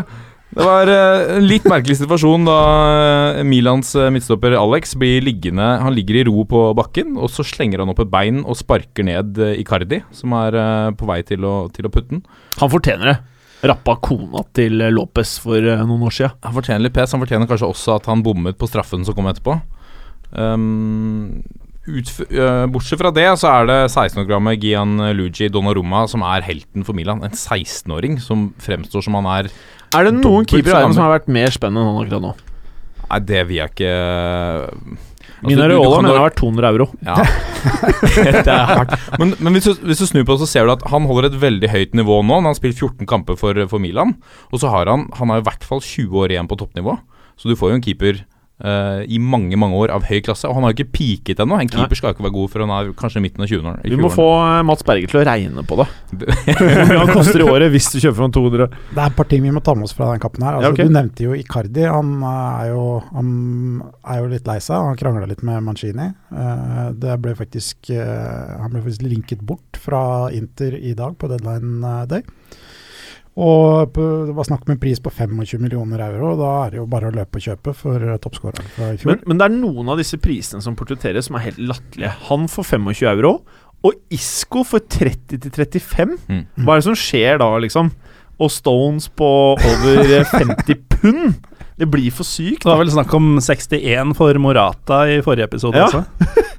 D: Det var eh, en litt merkelig situasjon da eh, Milans eh, midtstopper Alex blir liggende Han ligger i ro på bakken, og så slenger han opp et bein og sparker ned eh, Icardi, som er eh, på vei til å, til å putte den.
A: Han fortjener det. Rappa kona til Lopez for eh, noen år siden.
D: Han fortjener litt pes. Han fortjener kanskje også at han bommet på straffen som kom etterpå. Ehm, utf- øh, bortsett fra det, så er det 16 år gamle Gianluigi Donnarumma som er helten for Milan. En 16-åring som fremstår som han er
A: Er det noen
D: Dobbelt
A: keepere i verden
D: så
A: som har vært mer spennende enn han akkurat nå?
D: Nei, det vil jeg ikke altså,
A: Min
D: du- du
A: Areola
D: kan
A: mener det
D: da-
A: har vært 200 euro.
D: Ja. det er hardt. Men, men hvis, du, hvis du snur på det, så ser du at han holder et veldig høyt nivå nå. Han har spilt 14 kamper for, for Milan, og så har han Han har i hvert fall 20 år igjen på toppnivå. Så du får jo en keeper eh, i mange mange år av høy klasse. Og han har jo ikke peaket ennå. En keeper skal ikke være god før han er kanskje midten av 20-årene.
A: Vi må få eh, Mats Berger til å regne på det.
D: Det-
A: Hvor mye han koster i året hvis du kjøper for en 200?
C: Det er et par ting vi må ta med oss fra den kampen her. Altså,
A: Ja, ok.
C: Du nevnte jo Icardi. Han eh, er jo, han er jo litt lei seg. Han krangla litt med Mancini. Eh, Det ble faktisk, eh, han ble faktisk linket bort fra Inter i dag på deadline eh, day. Og på, det var snakk om en pris på 25 millioner euro. Da er det jo bare å løpe og kjøpe for eh, toppskåreren fra i fjor.
A: Men, men det er noen av disse prisene som portretteres som er helt latterlige. Han får 25 euro, og Isco får 30 til 35.
D: Mm.
A: Hva er det som skjer da, liksom? Og Stones på over eh, 50 pund? Det blir for sykt.
B: Det var vel snakk om 61 for Morata i forrige episode
A: Ja.
B: også.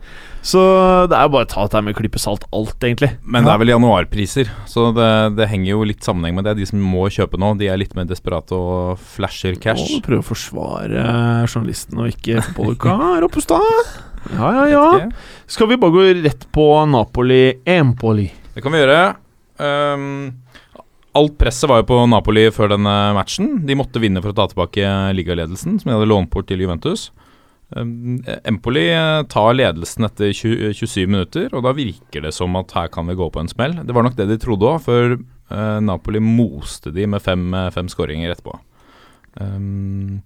A: Så det er jo bare å ta dette med klype salt, alt, egentlig.
D: Men det er vel januarpriser, så det, det henger jo litt sammenheng med det. De som må kjøpe nå, de er litt mer desperate og flasher cash.
A: Må du prøve å forsvare eh, journalisten og ikke fotballuka, Roppestad? Ja, ja, ja.
D: Vet ikke.
A: Skal vi bare gå rett på Napoli Empoli?
D: Det kan vi gjøre. Ehm, alt presset var jo på Napoli før denne matchen. De måtte vinne for å ta tilbake ligaledelsen, som de hadde lånt bort til Juventus. Ehm, Empoli eh, tar ledelsen etter 20, 27 minutter, og da virker det som at her kan vi gå på en smell. Det var nok det de trodde òg, før eh, Napoli moste de med fem, eh, fem skåringer etterpå. Ehm,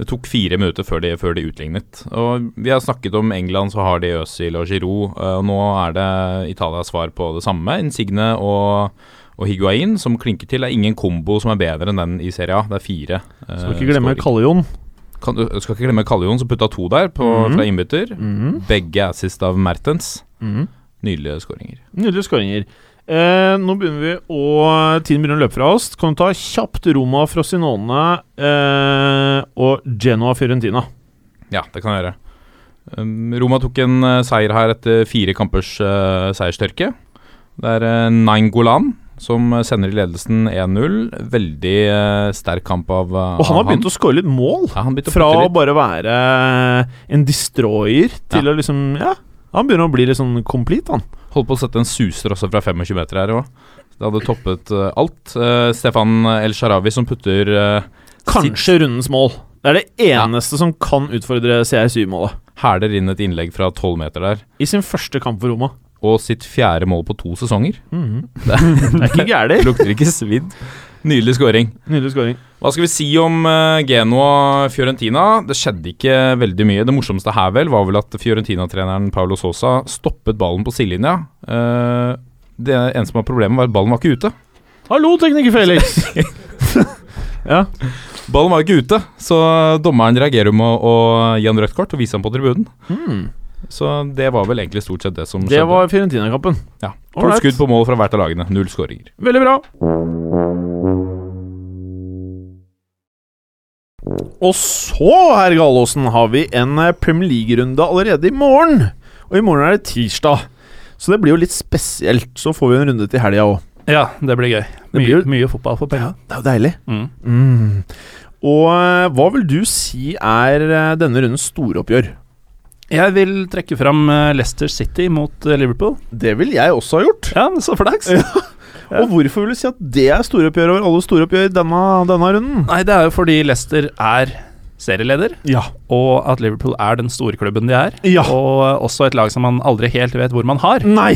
D: det tok fire minutter før de, før de utlignet. Og Vi har snakket om England, så har de Øzil og Giroud. eh, Og nå er det Italias svar på det samme. Insigne og, og Higuain, som klinker til. Det er ingen kombo som er bedre enn den i Serie A. Det er fire. eh,
A: Skal ikke glemme
D: skåringer.
A: Kalle-Jon.
D: Kan, du skal ikke glemme Kallion, som putta to der på,
A: Mhm.
D: fra innbytter.
A: Mhm.
D: Begge assist av Mertens.
A: Mhm.
D: Nydelige skåringer.
A: Nydelige skåringer. Eh, nå begynner vi å Tiden begynner å løpe fra oss. Kan du ta kjapt Roma, Frosinone eh, og Genoa Fiorentina?
D: Ja, det kan jeg gjøre. Um, Roma tok en eh, seier her etter fire kampers eh, seierstørke. Det er uh, Nainggolan som eh, sender i ledelsen 1-0. Veldig eh, sterk kamp av eh,
A: Og han har begynt å skåre litt mål.
D: ja, han begynte å
A: Fra
D: putte
A: å
D: litt.
A: bare være en destroyer til å liksom Ja, han begynner å bli litt sånn complete, han.
D: Holdt på å sette en suser også fra 25 meter her òg. Det hadde toppet eh, alt. Eh, Stefan El Sharawi som putter eh,
A: Kanskje rundens mål. Det er det
D: Ja.
A: eneste som kan utfordre CR7-målet.
D: hæler inn et innlegg fra 12 meter der.
A: I sin første kamp for Roma.
D: Og sitt fjerde mål på to sesonger.
A: Mhm. Det er ikke gærent.
D: Lukter ikke svidd. Nydelig skåring.
A: Nydelig skåring.
D: Hva skal vi si om eh, Genoa Fiorentina? Det skjedde ikke veldig mye. Det morsomste her vel var vel at Fiorentina-treneren Paulo Sosa stoppet ballen på sidelinja. Eh, det eneste som var problemet, var at ballen var ikke ute.
A: Hallo, tekniker Felix! ja.
D: Ballen var ikke ute, så dommeren reagerer med å gi han rødt kort og vise ham på tribunen.
A: Hmm.
D: Så det var vel egentlig stort sett det som
A: Det
D: skjedde.
A: var Fiorentina-kampen.
D: ja.
A: All
D: Tolv
A: right.
D: skudd på mål fra hvert av lagene. Null skåringer.
A: Veldig bra. Og så, herr Galåsen, har vi en eh, Premier League-runde allerede i morgen. Og i morgen er det tirsdag, så det blir jo litt spesielt. Så får vi en runde til helga òg.
B: Ja, det blir gøy. Mye,
A: blir jo-
B: mye fotball for penga.
A: Det er jo deilig.
B: Mm.
A: Mm. Og eh, hva vil du si er eh, denne rundens store oppgjør?
B: Jeg vil trekke fram eh, Leicester City mot eh, Liverpool.
A: Det vil jeg også ha gjort.
B: Ja, så flaks! Ja.
A: Og hvorfor vil du si at det er storoppgjør over alle storoppgjør denne, denne runden?
B: Nei, det er jo fordi Leicester er serieleder,
A: Ja.
B: og at Liverpool er den store klubben de er.
A: Ja.
B: Og eh, også et lag som man aldri helt vet hvor man har.
A: Nei!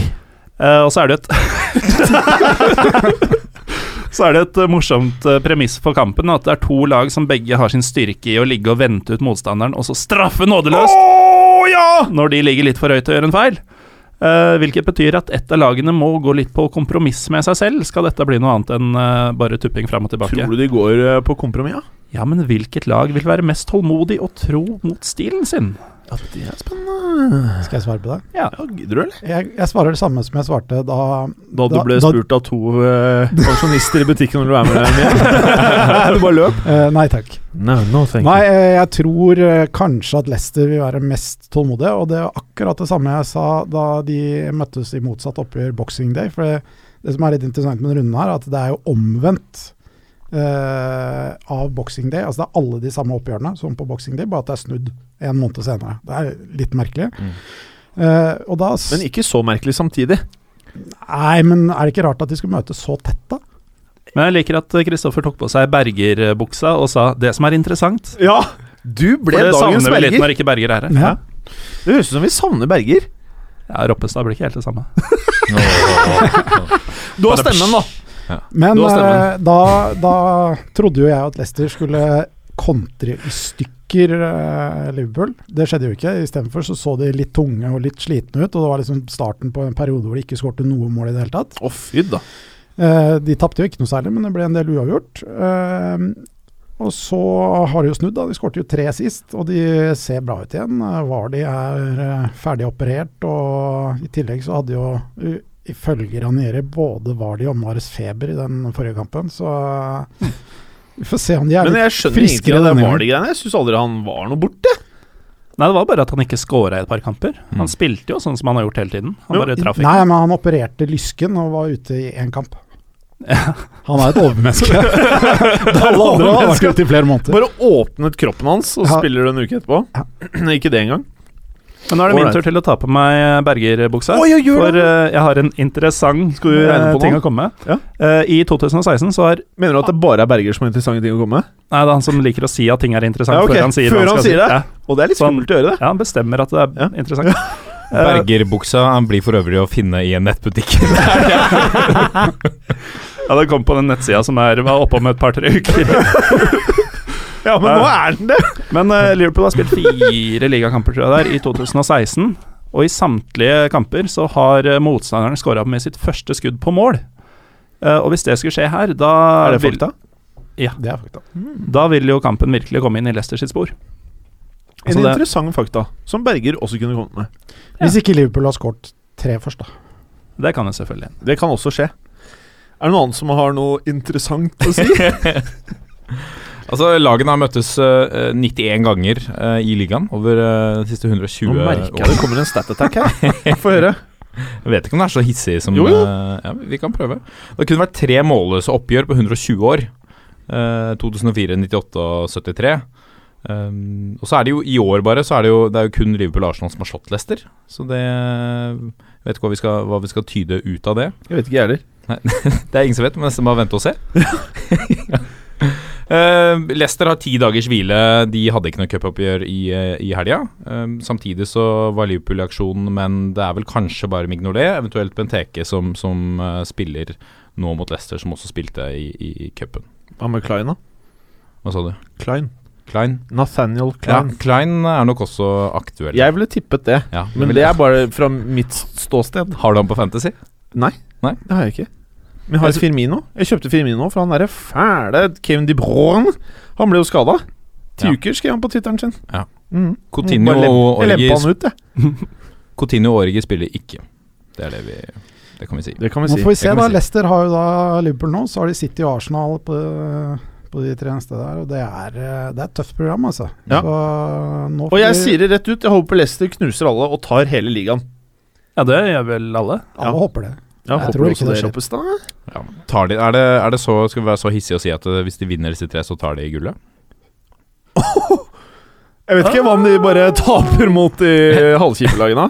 B: Eh, og så er det et Så er det et eh, morsomt eh, premiss for kampen. At det er to lag som begge har sin styrke i å ligge og vente ut motstanderen, og så straffe nådeløst når de ligger litt for høyt og gjør en feil. Eh, hvilket betyr at ett av lagene må gå litt på kompromiss med seg selv. Skal dette bli noe annet enn eh, bare tupping fram og tilbake?
A: Tror du de går eh, på kompromiss? Ja?
B: Ja, men hvilket lag vil være mest tålmodig og tro mot stilen sin?
A: ja, det er spennende.
C: Skal jeg svare på det?
B: Ja,
A: Ja, Gidder du, eller?
C: Jeg, jeg svarer det samme som jeg svarte da
A: Da du ble
C: da-
A: spurt av to eh, pensjonister i butikken når du er med deg hjem? Du bare løp?
C: eh, Nei takk.
A: No, no, thank
C: Nei, eh, jeg tror eh, kanskje at Leicester vil være mest tålmodige, og det er akkurat det samme jeg sa da de møttes i motsatt oppgjør Boxing Day. For det, det som er litt interessant med denne runden her, er at det er jo omvendt eh, av Boxing Day. Altså det er alle de samme oppgjørene som på Boxing Day, bare at det er snudd en måned senere. Det er litt merkelig.
D: Mm.
C: Eh, og da s-
A: Men ikke så merkelig samtidig.
C: Nei, men er det ikke rart at de skulle møtes så tett, da?
B: Men jeg liker at eh, Kristoffer tok på seg Berger-buksa og sa 'det som er interessant'.
A: Ja! Du
B: For
A: ble
B: det
A: dagens
B: savner vi litt
A: Berger.
B: når ikke Berger er her.
C: Ja.
A: Det høres ut som vi savner Berger.
B: Ja, Roppestad blir ikke helt det samme.
A: Du har stemmen, da.
C: Men
D: Du har
C: eh,
D: stemmen.
C: da, da trodde jo jeg at Leicester skulle kontre i stykker eh, Liverpool. Det skjedde jo ikke. Istedenfor så, så de litt tunge og litt slitne ut. Og det var liksom starten på en periode hvor de ikke skårte noe mål i det hele tatt.
A: Å, fy da.
C: Eh, de tapte jo ikke noe særlig, men det ble en del uavgjort. Eh, og så har de jo snudd, da. De skårte jo tre sist, og de ser bra ut igjen. Eh, Vardy er eh, ferdig operert, og i tillegg så hadde jo u- ifølge Ranieri både Vardy og Mares feber i den forrige kampen, så eh, vi får se om de er
A: Men
C: litt
A: jeg skjønner
C: friskere
A: ikke det
C: denne gangen.
A: Vardy-greiene. Jeg syns aldri han var noe borte.
B: Nei, det var bare at han ikke scora i et par kamper. Han
D: Mm.
B: spilte jo sånn som han har gjort hele tiden. Han
A: Jo,
B: bare traff ikke.
C: Nei, men han opererte lysken og var ute i én kamp. Han er et overmenneske. Alle andre har vært ute i flere måneder.
A: Bare åpnet kroppen hans, og så
C: Ja.
A: spiller du en uke etterpå. Ikke det engang.
B: Men nå er det min
A: Alright.
B: tur til å ta på meg Berger-buksa.
A: Å, ja, gjør
B: for
A: det.
B: eh, jeg har en interessant
A: du regne
B: eh,
A: på
B: ting
A: noe?
B: å komme med.
A: Ja.
B: Eh, I 2016 så har
A: Mener du at det bare er Berger som har interessante ting å komme med?
B: Nei, det er han som liker å si at ting er interessant
A: Ja, ok.
B: før han sier
A: Før
B: hva
A: han
B: skal
A: sier
B: si.
A: det?
B: Ja.
A: Og det er litt
B: Sånn.
A: skummelt å gjøre det.
B: Ja, han bestemmer at det er
A: Ja.
B: interessant. Eh,
D: Bergerbuksa blir for øvrig å finne i en nettbutikk.
B: ja, det kom på den nettsida som er, var oppe om et par-tre uker.
A: Ja, men
B: Ja.
A: nå er den det!
B: Men eh, Liverpool har spilt fire ligakamper tror jeg der, i 2016. Og i samtlige kamper så har eh, motstanderen skåra med sitt første skudd på mål. Eh, og hvis det skulle skje her, da,
A: Er det
B: vil,
A: fakta?
C: Det er fakta.
B: da vil jo kampen virkelig komme inn i Leicester sitt spor.
A: En
B: Altså, det-
A: interessant fakta, som Berger også kunne kommet med.
C: Hvis ikke Liverpool har skåret tre først, da.
B: Det kan jeg selvfølgelig.
A: Det kan også skje. Er det noen annen som har noe interessant å si?
D: Altså, Lagene har møttes eh, 91 ganger eh, i ligaen over eh, de siste 120
A: Nå merker jeg det kommer en stat attack her. Få høre.
D: Jeg vet ikke om det er så hissig som
A: Jo, jo.
D: eh, ja, Vi kan prøve. Det kunne vært tre målløse oppgjør på 120 år. Eh, 2004, 98 og 73. Um, og så er det jo i år bare Så er det jo, det er jo kun Liverpool og Arsenal som har slått Leicester. Så det Jeg vet ikke hva vi, skal, hva vi skal tyde ut av det.
A: Jeg vet ikke, jeg heller.
D: Det er ingen som vet, men nesten bare vente og se. Eh, Leicester har ti dagers hvile. De hadde ikke noe cupoppgjør i, eh, i helga. Eh, samtidig så var Liverpool i aksjon, men det er vel kanskje bare Mignolet, eventuelt Benteke, som, som eh, spiller nå mot Leicester, som også spilte i, i cupen.
A: Hva med Klein, da?
D: Hva sa du?
A: Klein.
D: Klein?
A: Nathaniel
D: Klein,
A: Klein.
D: ja, Klein er nok også aktuell.
A: Jeg ville tippet det,
D: ja,
A: men det er bare fra mitt ståsted.
D: Har du ham på Fantasy?
A: Det har jeg ikke. Men har jeg Firmino? Jeg kjøpte Firmino fra han derre fæle Kevin De Bruyne. Han ble jo skada. Ti
D: Ja.
A: uker skrev han på tittelen sin.
D: Ja.
A: Mm.
D: Coutinho
A: Bare lem-
D: og
A: jeg
D: Origi-
A: lempa han ut, jeg.
D: Coutinho og Origi spiller ikke. Det er det vi Det kan vi si.
A: Det kan vi
C: Nå
A: si.
C: får vi se,
D: det kan
C: da.
D: vi si.
C: Leicester har jo da Liverpool nå, så har de City og Arsenal på, på de tre neste der. Og det er, eh, det er et tøft program, altså.
A: Ja.
C: Så nå
A: Og
C: får
A: jeg
C: vi-
A: sier det rett ut, jeg håper Leicester knuser alle og tar hele ligaen.
B: Ja, det gjør vel alle.
A: Ja.
C: Alle håper det.
A: Ja,
C: Jeg
A: håper
C: tror
A: du
C: ikke
A: ikke det
C: det skjer.
A: kjappest, da?
D: Ja, tar de, er, det, er det så Skal vi være så hissige å si at eh, hvis de vinner disse tre, så tar de gullet?
A: Jeg vet ikke hva om de bare taper mot de halvkjipe lagene.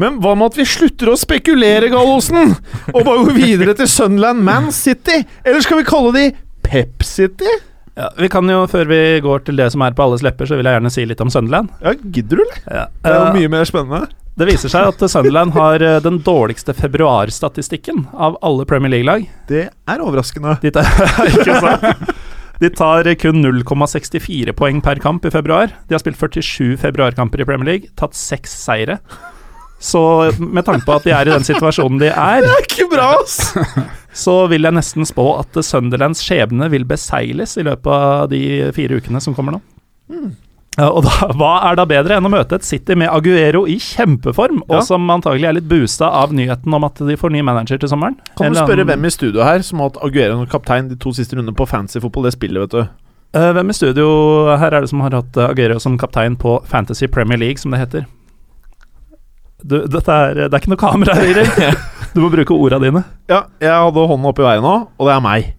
A: Men hva med at vi slutter å spekulere, Gallosen, og bare går videre til Sunland Man City? Eller skal vi kalle de Pep City?
B: Ja, vi kan jo, Før vi går til det som er på alles lepper, så vil jeg gjerne si litt om Sunderland.
A: Ja, gidder du, eller?
B: Ja. Eh,
A: Det er jo mye mer spennende.
B: Det viser seg at Sunderland har eh, den dårligste februarstatistikken av alle Premier League-lag.
A: Det er overraskende.
B: De tar, ikke sant? De tar kun 0,64 poeng per kamp i februar. De har spilt 47 februarkamper i Premier League, tatt seks seire. Så med tanke på at de er i den situasjonen de er,
A: Ikke bra, ass!
B: så vil jeg nesten spå at Sunderlands skjebne vil beseiles i løpet av de fire ukene som kommer nå.
A: Hmm.
B: Ja, Og da, hva er da bedre enn å møte et City med Aguero i kjempeform,
A: Ja.
B: og som antagelig er litt boosta av nyheten om at de får ny manager til sommeren?
A: Kan du
B: Eller
A: spørre
B: annen-
A: hvem i studio her som har hatt Aguero som kaptein de to siste rundene på fancy fotball? Det spillet, vet du.
B: Eh, hvem i studio her er det som har hatt eh, Aguero som kaptein på Fantasy Premier League, som det heter? Du, dette er, det er ikke noe kamera høyre. Du må bruke orda dine.
A: Ja, jeg hadde hånden opp i været nå, og det er meg.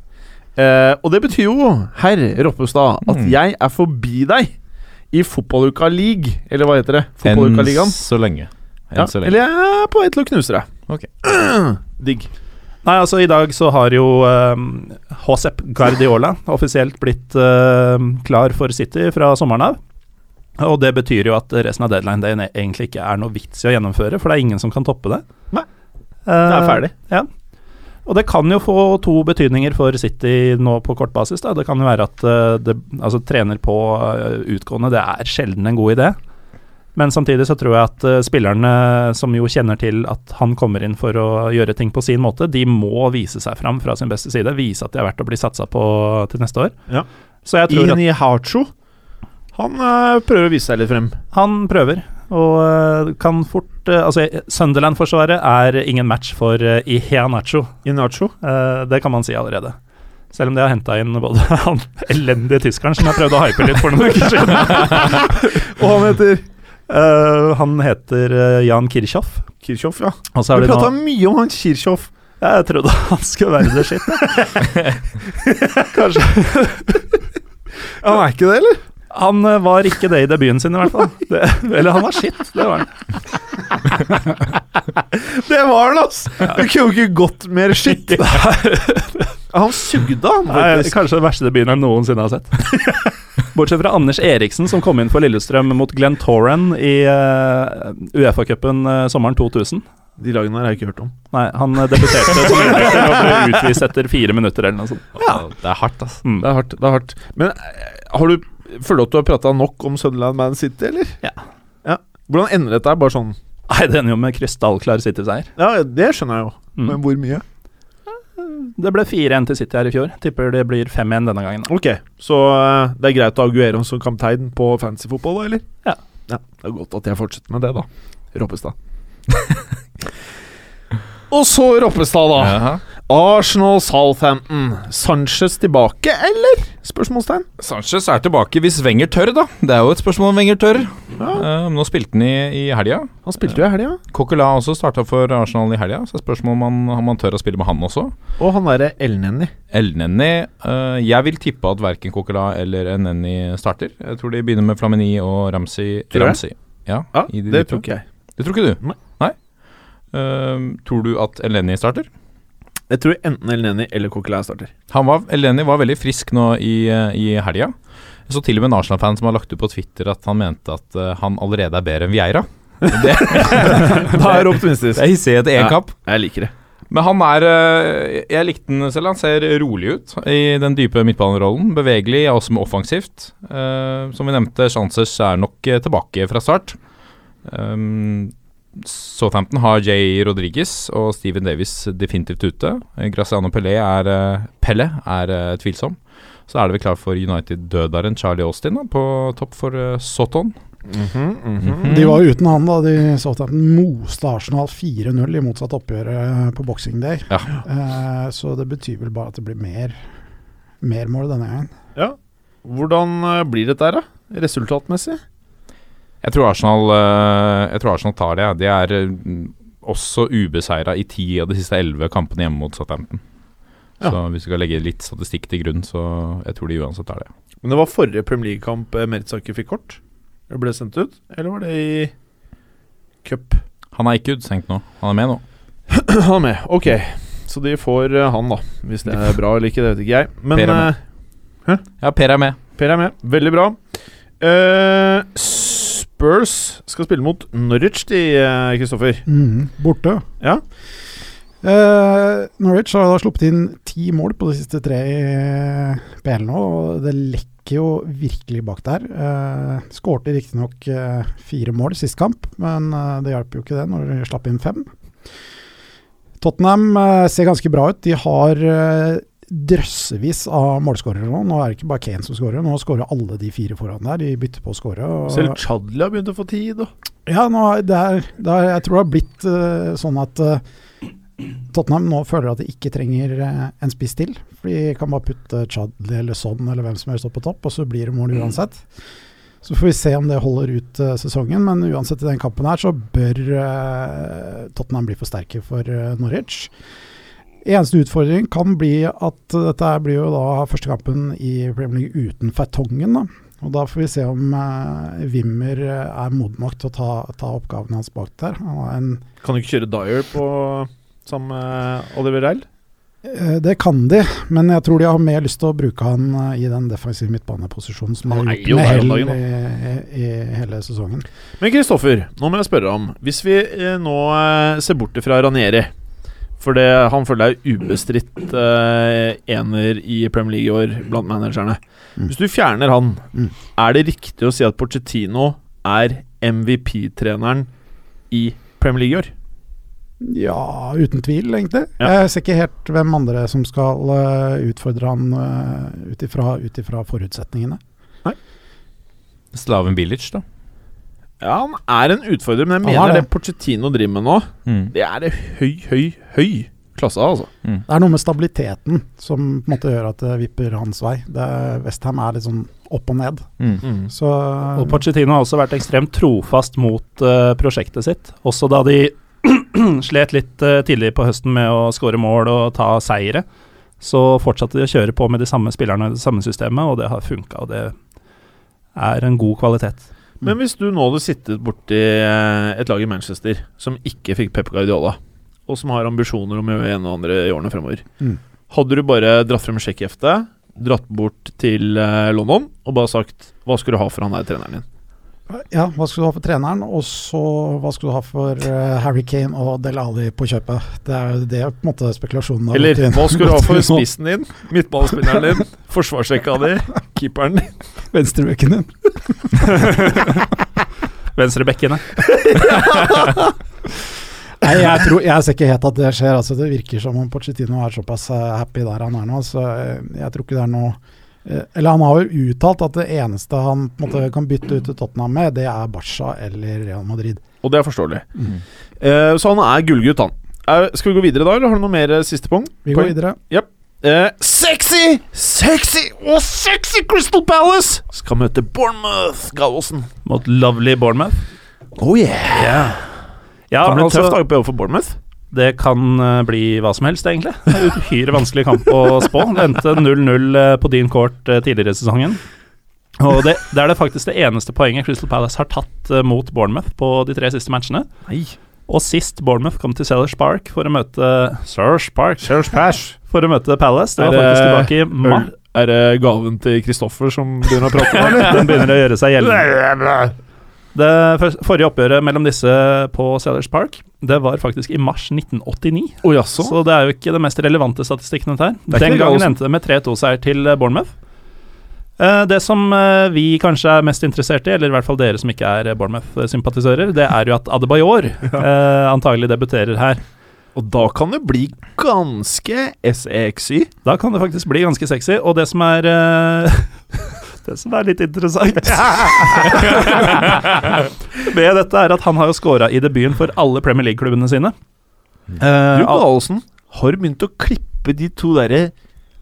A: Eh, og det betyr jo, herr Roppestad, at
D: Mm.
A: jeg er forbi deg i Fotballuka League. Eller hva heter det?
D: Enn
A: Fotballuka-ligaen.
D: så lenge. Enn
A: Ja,
D: så lenge.
A: eller jeg er på vei til å knuse deg.
D: Ok.
A: Digg.
B: Nei, altså I dag så har jo um, Josep Guardiola offisielt blitt eh, klar for City fra sommeren av. Og det betyr jo at resten av deadline dayen egentlig ikke er noe vits i å gjennomføre, for det er ingen som kan toppe det.
A: Nei.
B: det
A: er ferdig.
B: Ja. Og det kan jo få to betydninger for City nå på kort basis. Da. Det kan jo være at eh, det, altså, trener på eh, utgående, det er sjelden en god idé. Men samtidig så tror jeg at eh, spillerne som jo kjenner til at han kommer inn for å gjøre ting på sin måte, de må vise seg fram fra sin beste side. Vise at de er verdt å bli satsa på til neste år.
A: Ja.
B: Så jeg tror
A: Ini Hacho. Han eh, prøver å vise seg litt frem.
B: at han prøver. Og eh, kan fort eh, Altså, eh, Sunderland-forsvaret er ingen match for eh, Iheanacho.
A: Inacho.
B: Eh, det kan man si allerede. Selv om de har henta inn både han elendige tyskeren som jeg prøvde å hype litt for noen uker siden.
A: Og han heter
B: Eh, han heter eh, Jan Kirchhoff.
A: Kirchhoff, ja.
B: Og så
A: Vi
B: er det nå-
A: prata mye om han Kirchhoff.
B: Ja, Jeg trodde han skulle være det shit. Kanskje.
A: Han er ikke det, eller?
B: Han eh, var ikke det i debuten sin, i hvert fall. Det, eller han var shit, det var han.
A: Det var han, ass! Du kunne jo ikke gått mer skitt. han sugde, han,
B: Nei,
A: faktisk.
B: kanskje den verste debuten jeg noensinne har sett. Bortsett fra Anders Eriksen, som kom inn for Lillestrøm mot Glenn Torren i eh, Uefa-cupen eh, sommeren 2000.
A: De lagene her har jeg ikke hørt om.
B: Nei, han eh, debuterte som innbytter og ble utvist etter fire minutter eller noe sånt.
D: Ja, Det er hardt, ass.
B: Mm.
A: Det er hardt. det er hardt Men eh, har du, føler du at du har prata nok om Sunderland Man City, eller?
B: Ja.
A: ja. Hvordan ender dette her? Bare sånn
B: Nei, det ender jo med krystallklar City-seier.
A: Ja, det skjønner jeg jo, men
B: Mm.
A: hvor mye?
B: Det ble 4-1 til City her i fjor. Tipper det blir 5-1 denne gangen.
A: Ok, så eh, det er greit å ha Aguero som kaptein på fantasyfotball, da, eller?
B: Ja.
A: ja. Det er godt at jeg fortsetter med det, da. Roppestad. Og så Roppestad, da.
D: Jaha.
A: Arsenal Southampton. Sanchez tilbake, eller? Spørsmålstegn.
D: Sanchez er tilbake hvis Wenger tør, da. Det er jo et spørsmål om Wenger tør. Eh, nå spilte han i, i helga.
A: Han spilte jo i helga.
D: Coquelin har også starta for Arsenal i helga, så er spørsmålet om han, om han tør å spille med han også.
A: Og han derre Elneny.
D: Elneny eh, Jeg vil tippe at verken Coquelin eller Elneny starter. Jeg tror de begynner med Flamini og Ramsey.
A: Tror du det?
D: Ramsey. Ja,
A: Ja,
D: i de-
A: det
D: de to.
A: tok jeg.
D: Det tror ikke du?
A: Nei.
D: Eh, tror du at Elneny starter?
A: Jeg tror enten Elneny eller Coquelin starter.
D: Han var, Eleni var veldig frisk nå i, eh, i helga. Jeg så til og med en Arsenal-fan som har lagt ut på Twitter at han mente at eh, han allerede er bedre enn Vieira. Det,
A: Da er du optimistisk.
D: det er hissighet i
A: Ja.
D: én kamp.
A: Jeg liker det.
D: Men han er eh, Jeg likte han selv. Han ser rolig ut i den dype midtbanerollen. Bevegelig, er også med offensivt. Eh, som vi nevnte, Chances er nok eh, tilbake fra start. Um, Southampton har Jay Rodriguez og Steven Davis definitivt ute. Eh, Graziano Pelé er, eh, Pelle er eh, tvilsom. Så er det vel klar for United-dødaren Charlie Austin da, på topp for eh, Soton.
A: Mm.
D: Mhm.
C: De var jo uten han da de Southampton moste Arsenal 4-0 i motsatt oppgjør eh, på Boxing Day.
D: Ja.
C: Eh, så det betyr vel bare at det blir mer, mer mål denne gangen.
A: Hvordan eh, blir dette her, da? Resultatmessig?
D: Jeg tror Arsenal, eh, jeg tror Arsenal tar det. ja. De er eh, også ubeseira i ti av de siste elleve kampene hjemme mot Southampton.
A: Ja.
D: Så hvis du skal legge litt statistikk til grunn, så jeg tror de uansett tar det.
A: Men det var forrige Premier League-kamp eh, Mertzaker fikk kort. Det ble sendt ut. Eller var det i cup?
D: Han er ikke utsenkt nå. Han er med nå.
A: Han er med. Ok, så de får eh, han, da. Hvis det er bra eller ikke, det vet ikke jeg. Men
D: Per er med.
A: eh,
D: Ja, Per er med.
A: Per er med. Veldig bra. Eh, s- Spurs skal spille mot Norwich, de, eh, Kristoffer.
C: Mhm, borte.
A: Ja.
C: Eh, Norwich har da sluppet inn ti mål på de siste tre i BL nå, og det lekker jo virkelig bak der. Uh, Skårte riktignok uh, fire mål sist kamp, men eh, det hjalp jo ikke det når de slapp inn fem. Tottenham eh, ser ganske bra ut. De har eh, drøssevis av målskårere nå. Nå er det ikke bare Kane som skårer, nå skårer alle de fire foran der. De bytter på å skåre. og-
A: Selv Chadli har begynt å få tid. Og.
C: ja, nå, er- det er, det er, jeg tror det har blitt eh, sånn at eh, Tottenham nå føler at de ikke trenger eh, en spiss til. For de kan bare putte Chadli eller Son eller hvem som helst opp på topp, og så blir det mål uansett. Så får vi se om det holder ut eh, sesongen, men uansett i den kampen her så bør eh, Tottenham bli for sterke for eh, Norwich. Eneste utfordring kan bli at eh, dette her blir jo da første kampen i Premier League uten Fertongen, da. Og da får vi se om eh, Wimmer eh, er moden nok til å ta, ta oppgaven hans bak der. Han har en,
A: Kan du ikke kjøre Dyer på eh, sammen med Oliver Reil?
C: eh, det kan de, men jeg tror de har mer lyst til å bruke han eh, i den defensive midtbaneposisjonen som de
A: Han
C: har
A: er
C: gjort
A: jo
C: med
A: der om
C: hell
A: dagen,
C: i, i hele sesongen.
A: Men Kristoffer, nå må jeg spørre om Hvis vi eh, nå eh, ser bort fra Ranieri For det, han føler deg ubestridt eh, ener i Premier League i år blant managerne.
C: Mm.
A: Hvis du fjerner han,
C: Mm.
A: er det riktig å si at Pochettino er MVP-treneren i Premier League i år?
C: Ja, uten tvil, egentlig.
A: Ja.
C: Jeg ser ikke helt hvem andre som skal eh, utfordre han eh, ut ifra- ut ifra forutsetningene.
D: Slaven Bilic, da.
A: Ja, han er en utfordrer, men jeg
C: Han er
A: mener det
C: det.
A: Pochettino driver med nå,
D: Mm.
A: det er det høy, høy, høy klasse av, altså.
C: Det er noe med stabiliteten som på en måte gjør at det vipper hans vei. Westham er litt sånn opp og ned.
D: Mm.
A: Mm.
C: Så
B: Og Pochettino har også vært ekstremt trofast mot eh, prosjektet sitt. Også da de slet litt eh, tidlig på høsten med å skåre mål og ta seire, så fortsatte de å kjøre på med de samme spillerne og det samme systemet, og det har funka. Og det er en god kvalitet.
A: Men hvis du nå hadde sittet borti eh, et lag i Manchester som ikke fikk Pep Guardiola, og som har ambisjoner om å gjøre en og andre i årene fremover,
C: Mm.
A: hadde du bare dratt frem sjekkheftet, dratt bort til eh, London og bare sagt Hva skal du ha for han der treneren din?
C: Ja, hva skulle du ha for treneren, og så hva skulle du ha for eh, Harry Kane og Del Ali på kjøpet? Det er jo det på en måte spekulasjonen har
A: Eller
C: gått inn-
A: hva skal du ha
C: gått
A: for
C: inn på.
A: spissen din, midtballspilleren din, forsvarsrekka di, keeperen din?
C: Venstrebekken din.
B: Venstrebekkene.
C: Nei, jeg, tror, jeg ser ikke helt at det skjer. Altså, det virker som om Pochettino er såpass eh, happy der han er nå, så eh, jeg tror ikke det er noe eh, Eller han har jo uttalt at det eneste han på en måte, kan bytte ut til Tottenham med, det er Barca eller Real Madrid.
A: Og det er forståelig.
D: Mm.
A: Eh, så han er gullgutt, han. Eh, skal vi gå videre da, eller har du noe mer eh, siste punkt?
C: Vi
A: Poeng?
C: går videre.
A: Eh, sexy, sexy og sexy Crystal Palace skal møte Bournemouth, Gallosen.
B: Mot lovely Bournemouth.
A: Oh yeah.
B: Ja,
A: Kan det bli en
B: altså,
A: tøff dag på jobb for Bournemouth.
B: det kan eh, bli hva som helst, egentlig. Uhyre vanskelig kamp å spå. Endte 0-0 eh, på din court eh, tidligere i sesongen. Og det, det er det faktisk det eneste poenget Crystal Palace har tatt eh, mot Bournemouth på de tre siste matchene.
A: Nei.
B: Og sist Bournemouth kom til Sellers Park for å møte Sellers Park For å møte Palace. Det var
A: Er det
B: faktisk tilbake i
A: Mm.
B: mars.
A: Er det gaven til Kristoffer som begynner å prate?
B: Den begynner å gjøre seg gjeldende. Det fø- forrige oppgjøret mellom disse på Sellers Park Det var faktisk i mars 1989.
A: Å oh,
B: Så?
A: jaså?
B: det er jo ikke den mest relevante statistikken dette her.
A: er ikke
B: Den
A: det
B: gangen
A: galeste.
B: endte det med 3-2-seier til eh, Bournemouth. Eh, Det som eh, vi kanskje er mest interessert i, eller i hvert fall dere som ikke er eh, Bournemouth-sympatisører, det er jo at Adebayor eh, antagelig debuterer her.
A: Og da kan det bli ganske E SEXY.
B: Da kan det faktisk bli ganske sexy, og det som er eh, Det som er litt interessant med dette, er at han har jo scora i debuten for alle Premier League-klubbene sine.
A: Du,
B: Eh,
A: Gallosen, har begynt å klippe de to derre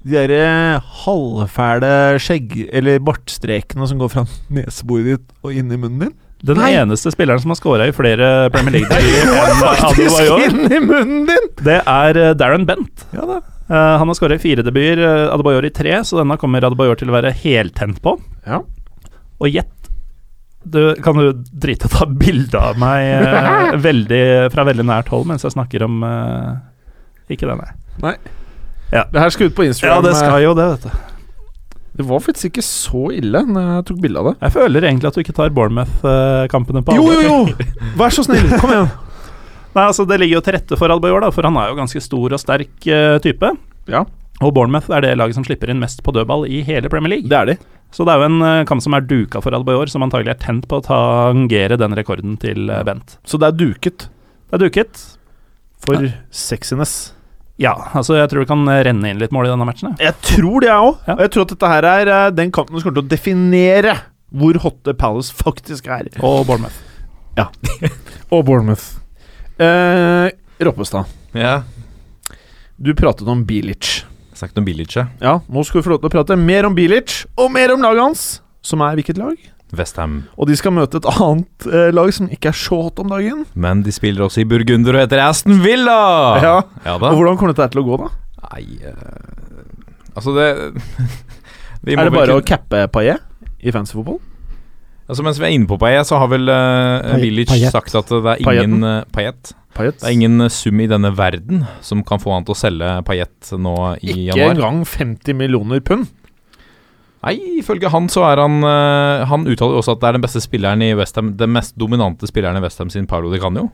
A: de derre halvfæle skjegg- eller bartstrekene som går fra neseboret ditt og inn i munnen din.
B: den
A: Nei.
B: eneste spilleren som har scora i flere Premier League-debuter enn Adebayor,
A: inn i munnen din!
B: det er eh, Darren Bent.
A: Ja da.
B: Eh, han har skåra i fire debuter, eh, Adebayor i tre, så denne kommer Adebayor til å være heltent på.
A: Ja.
B: Og gjett du, Kan du drite og ta bilde av meg eh, veldig, fra veldig nært hold mens jeg snakker om eh, Ikke det, nei.
A: Det her skal ut på Instagram.
B: Ja, det skal jo det, vet du.
A: eh, Det var faktisk ikke så ille når jeg tok bilde av det.
B: Jeg føler egentlig at du ikke tar Bournemouth-kampene på
A: Jo,
B: alvor.
A: jo, jo! Vær så snill, kom igjen.
B: Nei, altså Det ligger jo til rette for Albayor, da, for han er jo ganske stor og sterk eh, type.
A: Ja.
B: Og Bournemouth er det laget som slipper inn mest på dødball i hele Premier League.
A: Det er de.
B: Så det er jo en eh, kamp som er duka for Albayor, som antagelig er tent på å tangere den rekorden til eh, Bent.
A: Så det er duket
B: Det er duket.
A: for sexiness.
B: Ja, altså jeg tror det kan eh, renne inn litt mål i denne matchen. jeg.
A: Jeg tror det, jeg òg.
B: Ja.
A: Og jeg tror at dette her er eh, den kampen som kommer til å definere hvor hotte Palace faktisk er.
B: Og Bournemouth.
A: Og Bournemouth. Eh, Roppestad,
D: Ja.
A: du pratet om Bilic.
D: Sagt noe billig, ikke?
A: Ja, nå skal vi få lov til å prate mer om Bilic, og mer om laget hans, som er hvilket lag?
D: Westham.
A: Og de skal møte et annet eh, lag som ikke er så hot om dagen.
D: Men de spiller også i burgunder og heter Aston Villa!
A: Ja.
D: ja da.
A: Og hvordan kommer dette her til å gå, da?
D: Nei eh, Altså, det vi må
A: Er det
D: vel
A: bare å
D: kun-
A: cappe Paillet i fancyfotball?
D: Altså, Mens vi er inne på Paillet, så har vel uh,
C: Pay-
D: Village
C: Payet.
D: sagt at det er
A: Payetten.
D: ingen uh, Payet.
A: Paillet?
D: Det er ingen eh, sum i denne verden som kan få han til å selge Payet nå i
A: Ikke
D: januar.
A: engang 50 millioner pund.
D: Nei, ifølge han så er han eh, Han uttaler jo også at det er den beste spilleren i Westham, den mest dominante spilleren i Westham sin Paulo Di Canio.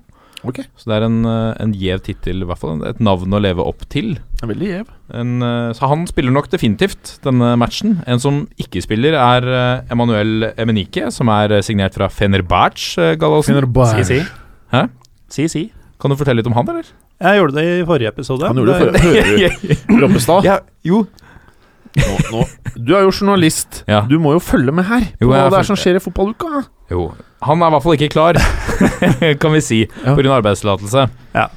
A: Ok.
D: Så det er en, eh, en gjev tittel, i hvert fall. Et navn å leve opp til.
A: Det er veldig gjev.
D: En, eh, så han spiller nok definitivt denne matchen. En som ikke spiller, er eh, Emanuel Emenike, som er eh, signert fra Fenerbahçe. eh, Gallosen.
B: Si, si.
D: Hæ?
B: Si, si.
D: Kan du fortelle litt om han, eller?
B: Jeg gjorde det i forrige episode.
A: Han gjorde det for Hører du, Roppestad? Nå, nå. Du er jo journalist.
D: Ja.
A: Du må jo følge med her på
D: Jo, jeg
A: hva
D: er
A: det
D: fulgt-
A: er som skjer i fotballuka.
D: Jo. Han er i hvert fall ikke klar, kan vi si,
A: Ja.
D: pga. arbeidstillatelse.
B: Ja.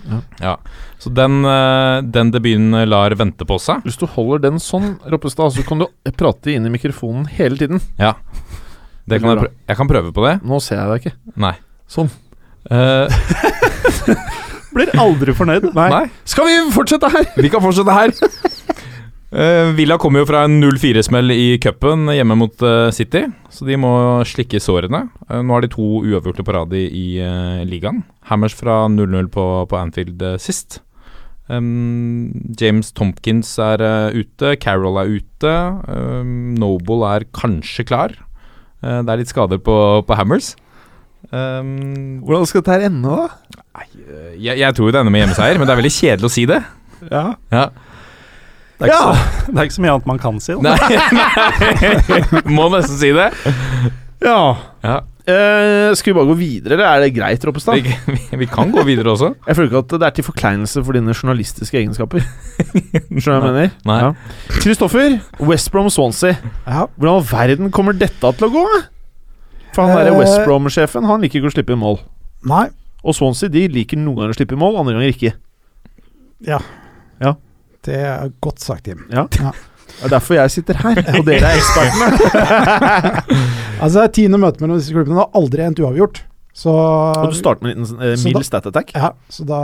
D: Ja. Så den, eh, den debuten lar vente på seg.
A: Hvis du holder den sånn, Roppestad, så kan du prate inn i mikrofonen hele tiden.
D: Det kan jeg, prø jeg kan prøve på det.
A: Nå ser jeg deg ikke.
D: Nei.
A: Sånn.
D: Eh,
B: Blir aldri fornøyd.
D: nei.
A: Skal vi fortsette her?
D: Vi kan fortsette her. Eh, Villa kommer jo fra en 0-4-smell i cupen hjemme mot eh, City, så de må slikke sårene. Eh, nå har de to uavgjorte på rad i, i eh, ligaen. Hammers fra 0-0 på, på Anfield eh, sist. Ehm, James Tompkins er eh, ute, Carroll er ute, ehm, Noble er kanskje klar. Eh, det er litt skader på, på Hammers. Ehm,
A: Hvordan skal dette her ende, da?
D: jeg, jeg tror det ender med hjemmeseier, men det er veldig kjedelig å si det.
A: Ja.
D: Ja.
B: Det er, ikke så, det er ikke så mye annet man kan si. Da.
D: Nei, må nesten si det.
A: ja.
D: Ja,
A: Eh, skal vi bare gå videre, eller er det greit,
D: vi,
F: Sånn.
A: Roppestad?
D: vi- vi kan gå videre også.
A: Jeg føler ikke at det er til forkleinelse for dine journalistiske egenskaper. Skjønner du hva jeg mener?
D: Nei.
A: Ja. Kristoffer, West Brom Swansea.
C: Ja.
A: Hvordan i all verden kommer dette til å gå? For han derre
C: Eh.
A: West Brom-sjefen, han liker ikke å slippe inn mål.
C: Nei.
A: Og Swansea de liker noen ganger å slippe inn mål, andre ganger ikke.
C: Det er godt sagt, Jim.
A: Det er derfor jeg sitter her, og dere er ekspertene.
C: Altså, det er tiende møte mellom disse klubbene. Det har aldri endt uavgjort. Så,
A: Og du starter med en liten eh,
C: Så da-
A: mild stat attack.
C: ja, så da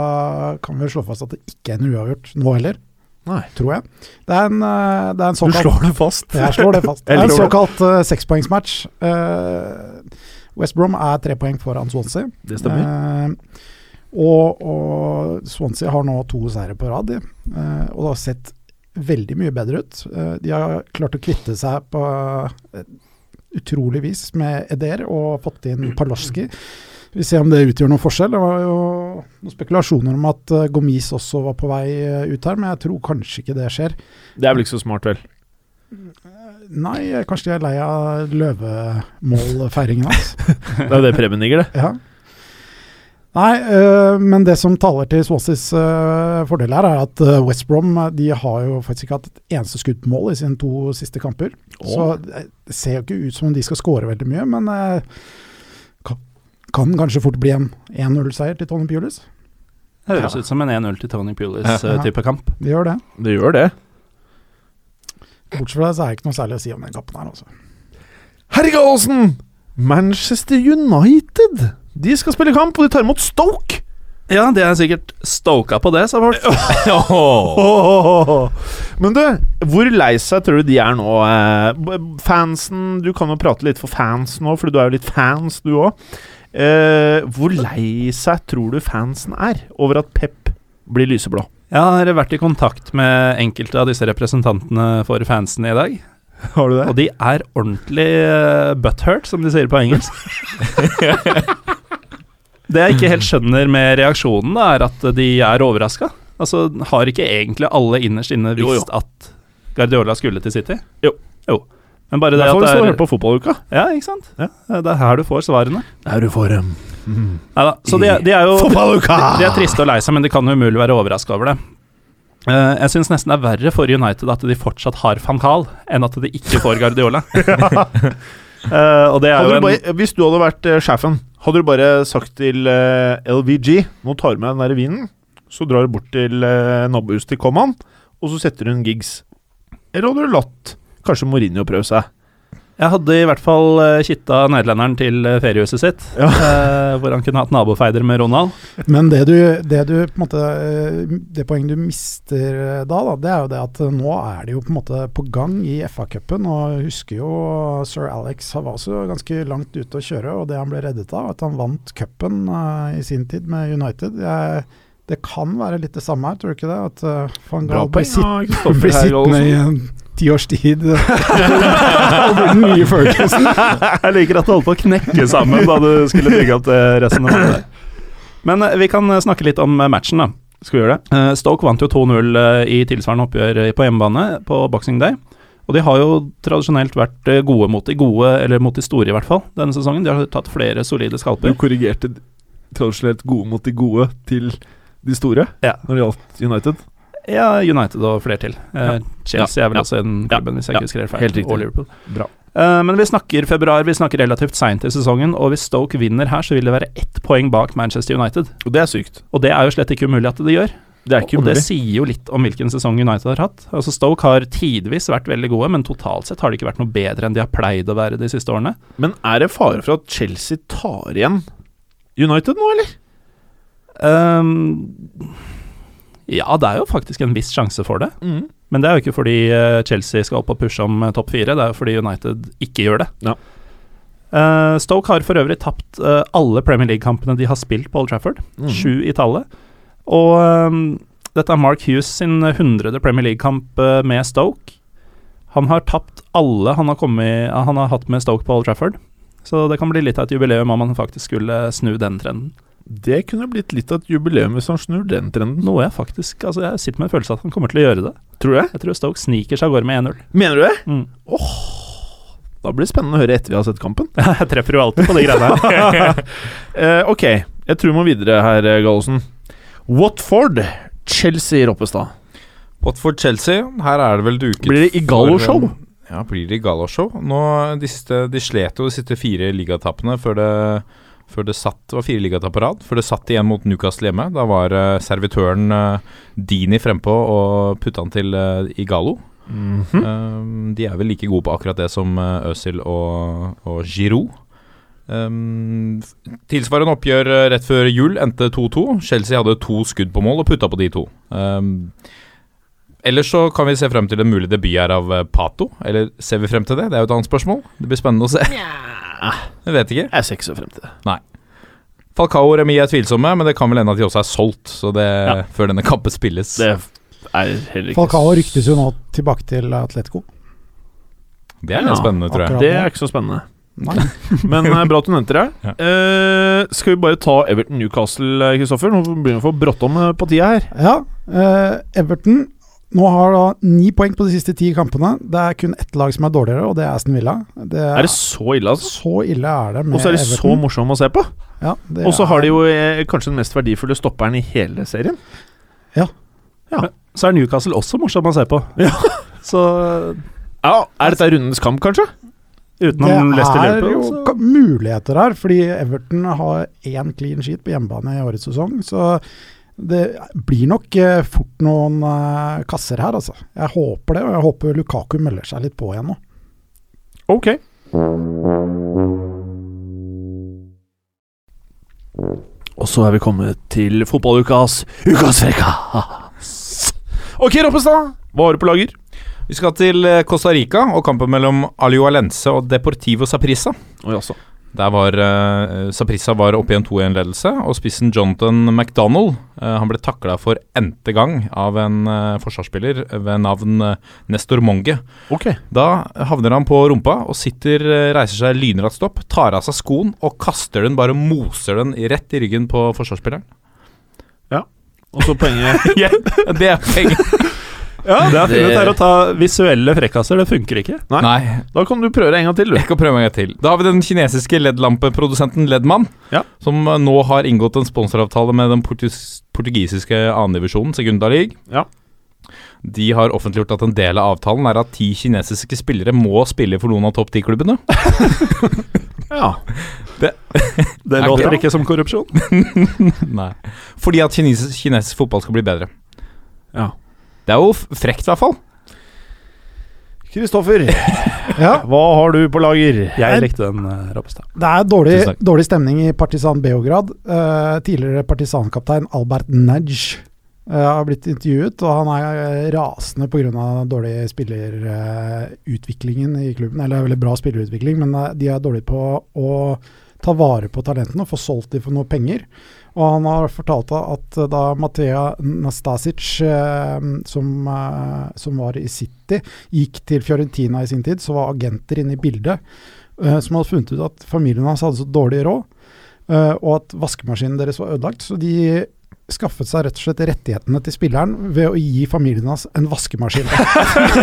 C: kan vi slå fast at det ikke er en uavgjort nå heller.
A: Nei.
C: Tror jeg. Det er en, eh, det er en såkalt
A: det fast.
C: Jeg slår det fast. Det
A: Jeg
C: er en
A: liker det.
C: såkalt eh, sekspoengsmatch. Eh, West Brom er tre poeng foran Swansea.
A: Det stemmer.
C: Eh, og, og Swansea har nå to seire på rad, de. Eh, og det har sett veldig mye bedre ut. Eh, de har klart å kvitte seg på eh, utrolig vis med Eder og fått inn Paloski. Vi ser om det utgjør noen forskjell. Det var jo noen spekulasjoner om at eh, Gomis også var på vei eh, ut her, men jeg tror kanskje ikke det skjer.
A: Det er vel ikke så smart, vel.
C: Nei, eh, kanskje de er lei av løvemålfeiringen hans.
A: Det er jo det Preben digger, det.
C: Ja. Nei, øh, men det som taler til Swanseas øh, fordel her, er at øh, West Brom øh, de har jo faktisk ikke hatt et eneste skudd på mål i sine to siste kamper. Så det det ser jo ikke ut som om de skal skåre veldig mye, men øh, kan, kan kanskje fort bli en 1-0-seier til Tony Pulis.
B: Det høres ut som en 1-0 til Tony
C: Ja.
B: Pulis-type kamp.
C: Det gjør det.
A: Det gjør det.
C: Bortsett fra det så er det ikke noe særlig å si om den kampen her, altså.
A: Herregaldsen! Manchester United! De skal spille kamp, og de tar imot Stoke!
B: Ja, de er sikkert stoka på det, sa folk.
A: Men du, hvor lei seg tror du de er nå? eh, b- Fansen Du kan jo prate litt for fans nå, for du er jo litt fans, du òg. hvor lei seg tror du fansen er over at Pep blir lyseblå?
B: Jeg har vært i kontakt med enkelte av disse representantene for fansen i dag.
A: Har du det?
B: Og de er ordentlig eh, butthurt, som de sier på engelsk. det jeg ikke helt skjønner med reaksjonen, da, er at de er overraska. Altså, har ikke egentlig alle innerst inne
A: Jo, jo.
B: visst at Guardiola skulle til City?
A: Jo.
B: jo. Men bare det
A: Derfor
B: at
A: står
B: det
A: det på fotballuka.
B: Ja, ikke sant?
A: Ja.
B: Det er her du får svarene.
A: Der du får dem.
B: Neida, Så de, er- de er jo
A: Fotballuka!
B: de, de er triste og lei seg, men de kan jo umulig være overraska over det. Eh, jeg syns nesten det er verre for United at de fortsatt har van Gaal, enn at de ikke får Guardiola. Eh, og det er
A: Hadde
B: jo en
A: du bare, hvis du hadde vært eh, sjefen, hadde du bare sagt til eh, LVG Nå tar du med den der vinen, så drar du bort til eh, nabohuset til Coman, og så setter hun gigs. Eller hadde du latt kanskje Mourinho prøve seg?
B: Jeg hadde i hvert fall eh, kitta nederlenderen til eh, feriehuset sitt.
A: Ja.
B: eh, hvor han kunne hatt nabofeider med Ronald.
C: Men det du, det du på en måte eh, Det poenget du mister eh, da, da, det er jo det at eh, nå er det jo på en måte på gang i FA-cupen. Og jeg husker jo sir Alex han var også ganske langt ute å kjøre, og det han ble reddet av, at han vant cupen eh, i sin tid med United. Jeg, det kan være litt det samme her, tror du ikke det? At eh, van Gaal blir, sitt, blir sittende i en ti års tid eh, og blir den nye Ferguson.
B: Jeg liker at du holdt på å knekke sammen da du skulle bygge opp det resonnementet. Men eh, vi kan eh, snakke litt om eh, matchen, da. Skal vi gjøre det? Eh, Stoke vant jo 2-0 eh, i tilsvarende oppgjør eh, på hjemmebane på Boxing Day. Og de har jo tradisjonelt vært eh, gode mot de gode, eller mot de store i hvert fall, denne sesongen. De har tatt flere solide
F: Du
B: skalper.
F: korrigerte tradisjonelt gode mot de gode til de store
B: Ja.
F: når det gjaldt United.
B: Ja, United og flere til. Eh, Chelsea er vel også en klubben, hvis jeg
F: Ja.
B: ikke skrev feil.
F: Helt riktig.
B: Og Liverpool.
F: Bra.
B: Eh, men vi snakker februar, vi snakker relativt seint i sesongen, og hvis Stoke vinner her, så vil det være ett poeng bak Manchester United.
F: Og det er sykt.
B: Og det er jo slett ikke umulig at det gjør.
F: Det er ikke
B: og det
F: umulig.
B: sier jo litt om hvilken sesong United har hatt. Altså Stoke har tidvis vært veldig gode, men totalt sett har de ikke vært noe bedre enn de har pleid å være de siste årene.
F: Men er det fare for at Chelsea tar igjen United nå, eller?
B: Ehm, ja, det er jo faktisk en viss sjanse for det.
A: Mm.
B: Men det er jo ikke fordi eh, Chelsea skal opp og pushe om eh, topp fire, det er jo fordi United ikke gjør det.
F: Ja.
B: Eh, Stoke har for øvrig tapt eh, alle Premier League-kampene de har spilt på Old Trafford.
F: Mhm.
B: Sju i tallet. Og ehm, dette er Mark Hughes sin hundrede Premier League-kamp eh, med Stoke. Han har tapt alle han har, kommet, eh, han har hatt med Stoke på Old Trafford. Så det kan bli litt av et jubileum om han faktisk skulle eh, snu den trenden.
F: Det kunne blitt litt av et jubileum hvis han snur den trenden.
B: Noe jeg faktisk Altså, jeg sitter med en følelse av at han kommer til å gjøre det.
F: Tror du det?
B: Jeg tror Stoke sniker seg av gårde med 1-0.
F: Mener du det?
B: Mm.
F: Da blir det spennende å høre etter vi har sett kampen.
B: Jeg treffer jo alltid på de greiene her.
F: Eh, ok, jeg tror vi må videre her, eh, Gallosen. Watford, Chelsea, Roppestad.
D: Watford Chelsea, her er det vel duket
F: Blir det i Gallo-show?
D: for en- Ja, blir det i Gallo-show. Nå, De, siste- de slet jo de siste fire ligatappene før det, før det satt det var fire ligatap på rad. Før det satt igjen mot Newcastle hjemme. Da var eh, servitøren eh, Dini frempå og putta han til eh, i Gallo.
F: Mm. Mhm.
D: Eh, de er vel like gode på akkurat det som eh, Øzil og, og Giroud. Um, f- tilsvarende oppgjør eh, rett før jul endte 2-2. Chelsea hadde to skudd på mål og putta på de to. Um, Ellers så kan vi se frem til en mulig debut her av eh, Pato. Eller ser vi frem til det? Det er jo et annet spørsmål. Det blir spennende å se. Jeg vet ikke.
F: Jeg ser ikke så frem til det.
D: Falcao og Remi er tvilsomme, men det kan vel hende at de også er solgt så det,
F: Ja.
D: før denne kampen spilles.
F: Det er heller ikke
C: Falcao ryktes jo nå tilbake til Atletico.
D: Det er litt
F: Ja,
D: spennende, tror jeg.
C: akkurat.
F: Det er ikke så spennende.
C: Nei.
F: Men eh, bra at du nevnte det.
D: Ja.
F: Eh, skal vi bare ta Everton Newcastle, eh, Kristoffer? Nå begynner vi å få bråttom eh, på tida her.
C: Ja, eh, Everton nå har da ni poeng på de siste ti kampene. Det er kun ett lag som er dårligere, og det er Aston Villa. Det er,
F: Er det så ille, altså?
C: så ille er det med
F: Og så er de så
C: Everton.
F: morsomme å se på.
C: Ja, det
F: Og så
C: er-
F: har de jo eh, kanskje den mest verdifulle stopperen i hele serien.
B: Så er Newcastle også morsom å se på.
F: Ja.
B: Så eh,
F: Ja, Er dette rundens kamp, kanskje?
B: utenom Leicester
C: Det er
B: Liverpool,
F: altså.
C: jo
B: så
C: ka- muligheter her, fordi Everton har én clean sheet på hjemmebane i årets sesong. Så det blir nok eh, fort noen eh, kasser her, altså. Jeg håper det, og jeg håper Lukaku melder seg litt på igjen nå.
F: Ok. Og så er vi kommet til fotballukas Ukas frekkas. Ok, Roppestad. Hva har du på lager?
D: Vi skal til eh, Costa Rica og kampen mellom Alioalense og Deportivo Saprissa.
F: Oi, altså.
D: Der var eh, Saprissa var oppe i en 2-1-ledelse, og spissen Jonathan McDonald eh, han ble takla for n-te gang av en eh, forsvarsspiller ved navn eh, Nestor Monge.
A: Ok.
D: Da havner han på rumpa og sitter, eh, reiser seg lynraskt opp, tar av seg skoen og kaster den, bare moser den rett i ryggen på forsvarsspilleren.
A: Og så poenget
D: Det er poenget.
B: Det jeg har funnet, er å ta visuelle frekkaser. Det funker ikke.
A: Nei.
D: Nei,
A: Da kan du prøve deg en gang til, du.
D: Jeg kan prøve meg en gang til. Da har vi den kinesiske LED-lampeprodusenten Ledman,
A: Ja.
D: som eh, nå har inngått en sponsoravtale med den portus- portugisiske andredivisjonen, Segunda League.
A: Ja.
D: De har offentliggjort at en del av avtalen er at ti kinesiske spillere må spille for noen av topp ti-klubbene.
A: Ja.
D: Det-
A: det
D: Er
A: låter
D: bra.
A: ikke som korrupsjon.
D: Nei. Fordi at kinesisk, kinesisk fotball skal bli bedre.
A: Ja.
D: Det er jo f- frekt, i hvert fall.
A: Kristoffer,
C: Ja,
A: hva har du på lager?
B: Jeg likte den, eh, Rappestad.
C: Det er dårlig,
D: Tusen takk.
C: dårlig stemning i Partisan Beograd. Eh, tidligere partisankaptein Albert Nudge har blitt intervjuet, og han er eh, rasende pga. dårlig spillerutviklingen i klubben. Eller veldig bra spillerutvikling, men eh, de er dårlige på å ta vare på talentene og få solgt dem for noe penger. Og han har fortalt at eh, da Mathea Nastasic, eh, som, eh, som var i City, gikk til Fiorentina i sin tid, så var agenter inne i bildet eh, som hadde funnet ut at familien hans hadde så dårlig råd, eh, og at vaskemaskinen deres var ødelagt. Så de skaffet seg rett og slett rettighetene til spilleren ved å gi familien hans en vaskemaskin.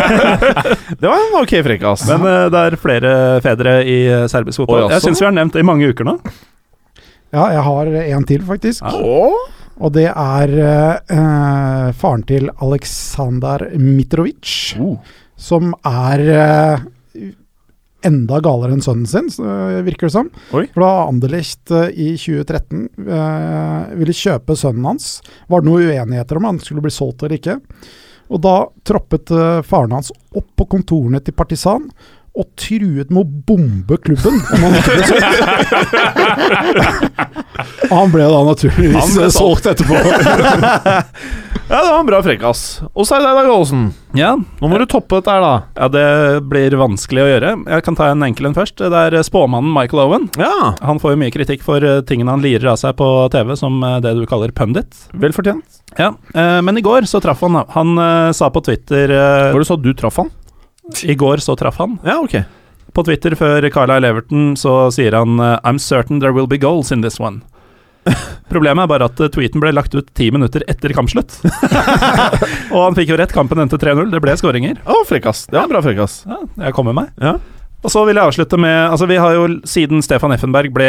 A: Det var en ok altså. frekkas.
B: Men eh, det er flere fedre i eh,
D: Oi,
B: serbisk fotball.
D: altså.
B: Jeg syns vi har nevnt det i mange uker nå.
C: Ja, jeg har en til, faktisk.
B: Ja.
C: Og det er eh, eh, faren til Aleksandr Mitrovic,
A: Oh.
C: som er eh, enda galere enn sønnen sin, så, eh, virker det som.
A: Oi.
C: For da Anderlecht eh, i 2013 eh, ville kjøpe sønnen hans, var det noen uenigheter om han skulle bli solgt eller ikke. Og da troppet eh, faren hans opp på kontorene til Partisan og truet med å bombe klubben om han ikke ble solgt. Og han ble da naturligvis
A: Han ble
C: eh, solgt etterpå.
A: Ja, det var en bra frekkas. Og så er det deg, Dag Aasen.
B: Ja,
A: Nå må du toppe dette her, da.
B: Ja, det blir vanskelig å gjøre. Jeg kan ta en enkel en først. Det er eh, spåmannen Michael Owen.
A: Ja,
B: Han får jo mye kritikk for eh, tingene han lirer av seg på TV, som eh, det du kaller pundit.
A: Vel fortjent.
B: Ja, eh, men i går så traff han. da. Han eh, sa på Twitter eh,
A: Var det så at du traff han?
B: I går så traff han.
A: Ja, ok.
B: På Twitter før Carlisle Everton så sier han eh, I'm certain there will be goals in this one. Problemet er bare at eh, tweeten ble lagt ut ti minutter etter kampslutt. Og han fikk jo rett, kampen endte 3-0. Det ble skåringer.
A: Å, frekkas. Det var en bra frekkas.
B: Ja, jeg kommer meg.
A: Ja.
B: Og så vil jeg avslutte med Altså Vi har jo siden Stefan Effenberg ble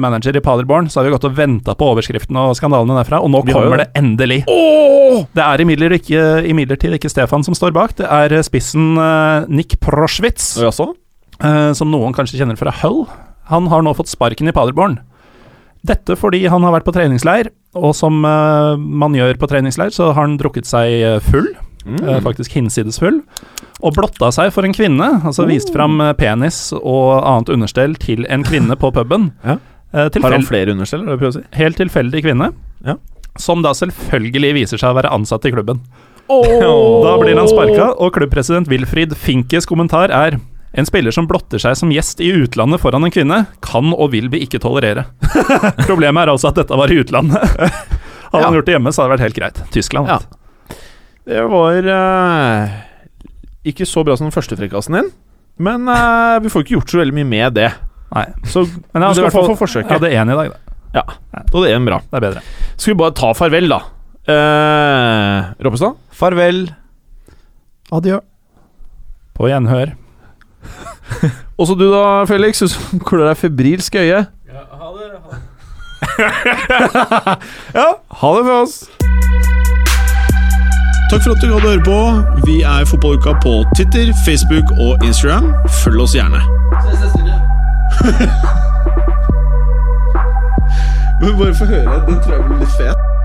B: manager i Paderborn, så har vi gått og venta på overskriftene og skandalene derfra, og nå
A: Vi har jo
B: kommer det endelig. Det er imidlertid ikke, imidlertid ikke Stefan som står bak, det er spissen eh, Nick Proschwitz,
A: Og jaså?
B: eh, som noen kanskje kjenner fra Hull. Han har nå fått sparken i Paderborn. Dette fordi han har vært på treningsleir, og som eh, man gjør på treningsleir, så har han drukket seg eh, full.
A: Mm.
B: Eh, faktisk hinsidesfull. Og blotta seg for en kvinne. Altså
A: Oh.
B: viste fram eh, penis og annet understell til en kvinne på puben.
A: Ja.
B: Eh,
A: Har han
B: tilfel
A: flere understell? er det du prøver å si?
B: helt tilfeldig kvinne.
A: Ja.
B: Som da selvfølgelig viser seg å være ansatt i klubben. Da blir han sparka, og klubbpresident Wilfried Finkes kommentar er en spiller som blotter seg som gjest i utlandet foran en kvinne, kan og vil vi ikke tolerere. Problemet er altså at dette var i utlandet. Hadde han
A: Ja.
B: gjort det hjemme, så hadde det vært helt greit. Tyskland.
A: Ja. Det var eh, ikke så bra som den første frekkasen din, men eh, vi får ikke gjort så veldig mye med det.
B: Nei.
A: Så
B: Men jeg
A: Du skal
B: hadde, i hvert fall-
A: få forsøket.
B: jeg hadde én i dag, da.
A: da er altså, det en bra.
B: Det er bedre.
A: Skal vi bare ta farvel, da? Uh, Roppestad?
D: Farvel.
C: Adjø.
B: På gjenhør.
A: Også du da, Felix, du som klør deg febrilsk i øyet.
E: Ja, ha det. Ha det.
A: Ha det for oss!
G: Takk for at du gadd å høre på. Vi er Fotballuka på Titter, Facebook og Instagram. Følg oss gjerne.
H: Ses neste uke.
G: Men bare få høre. Den tror jeg blir litt fet.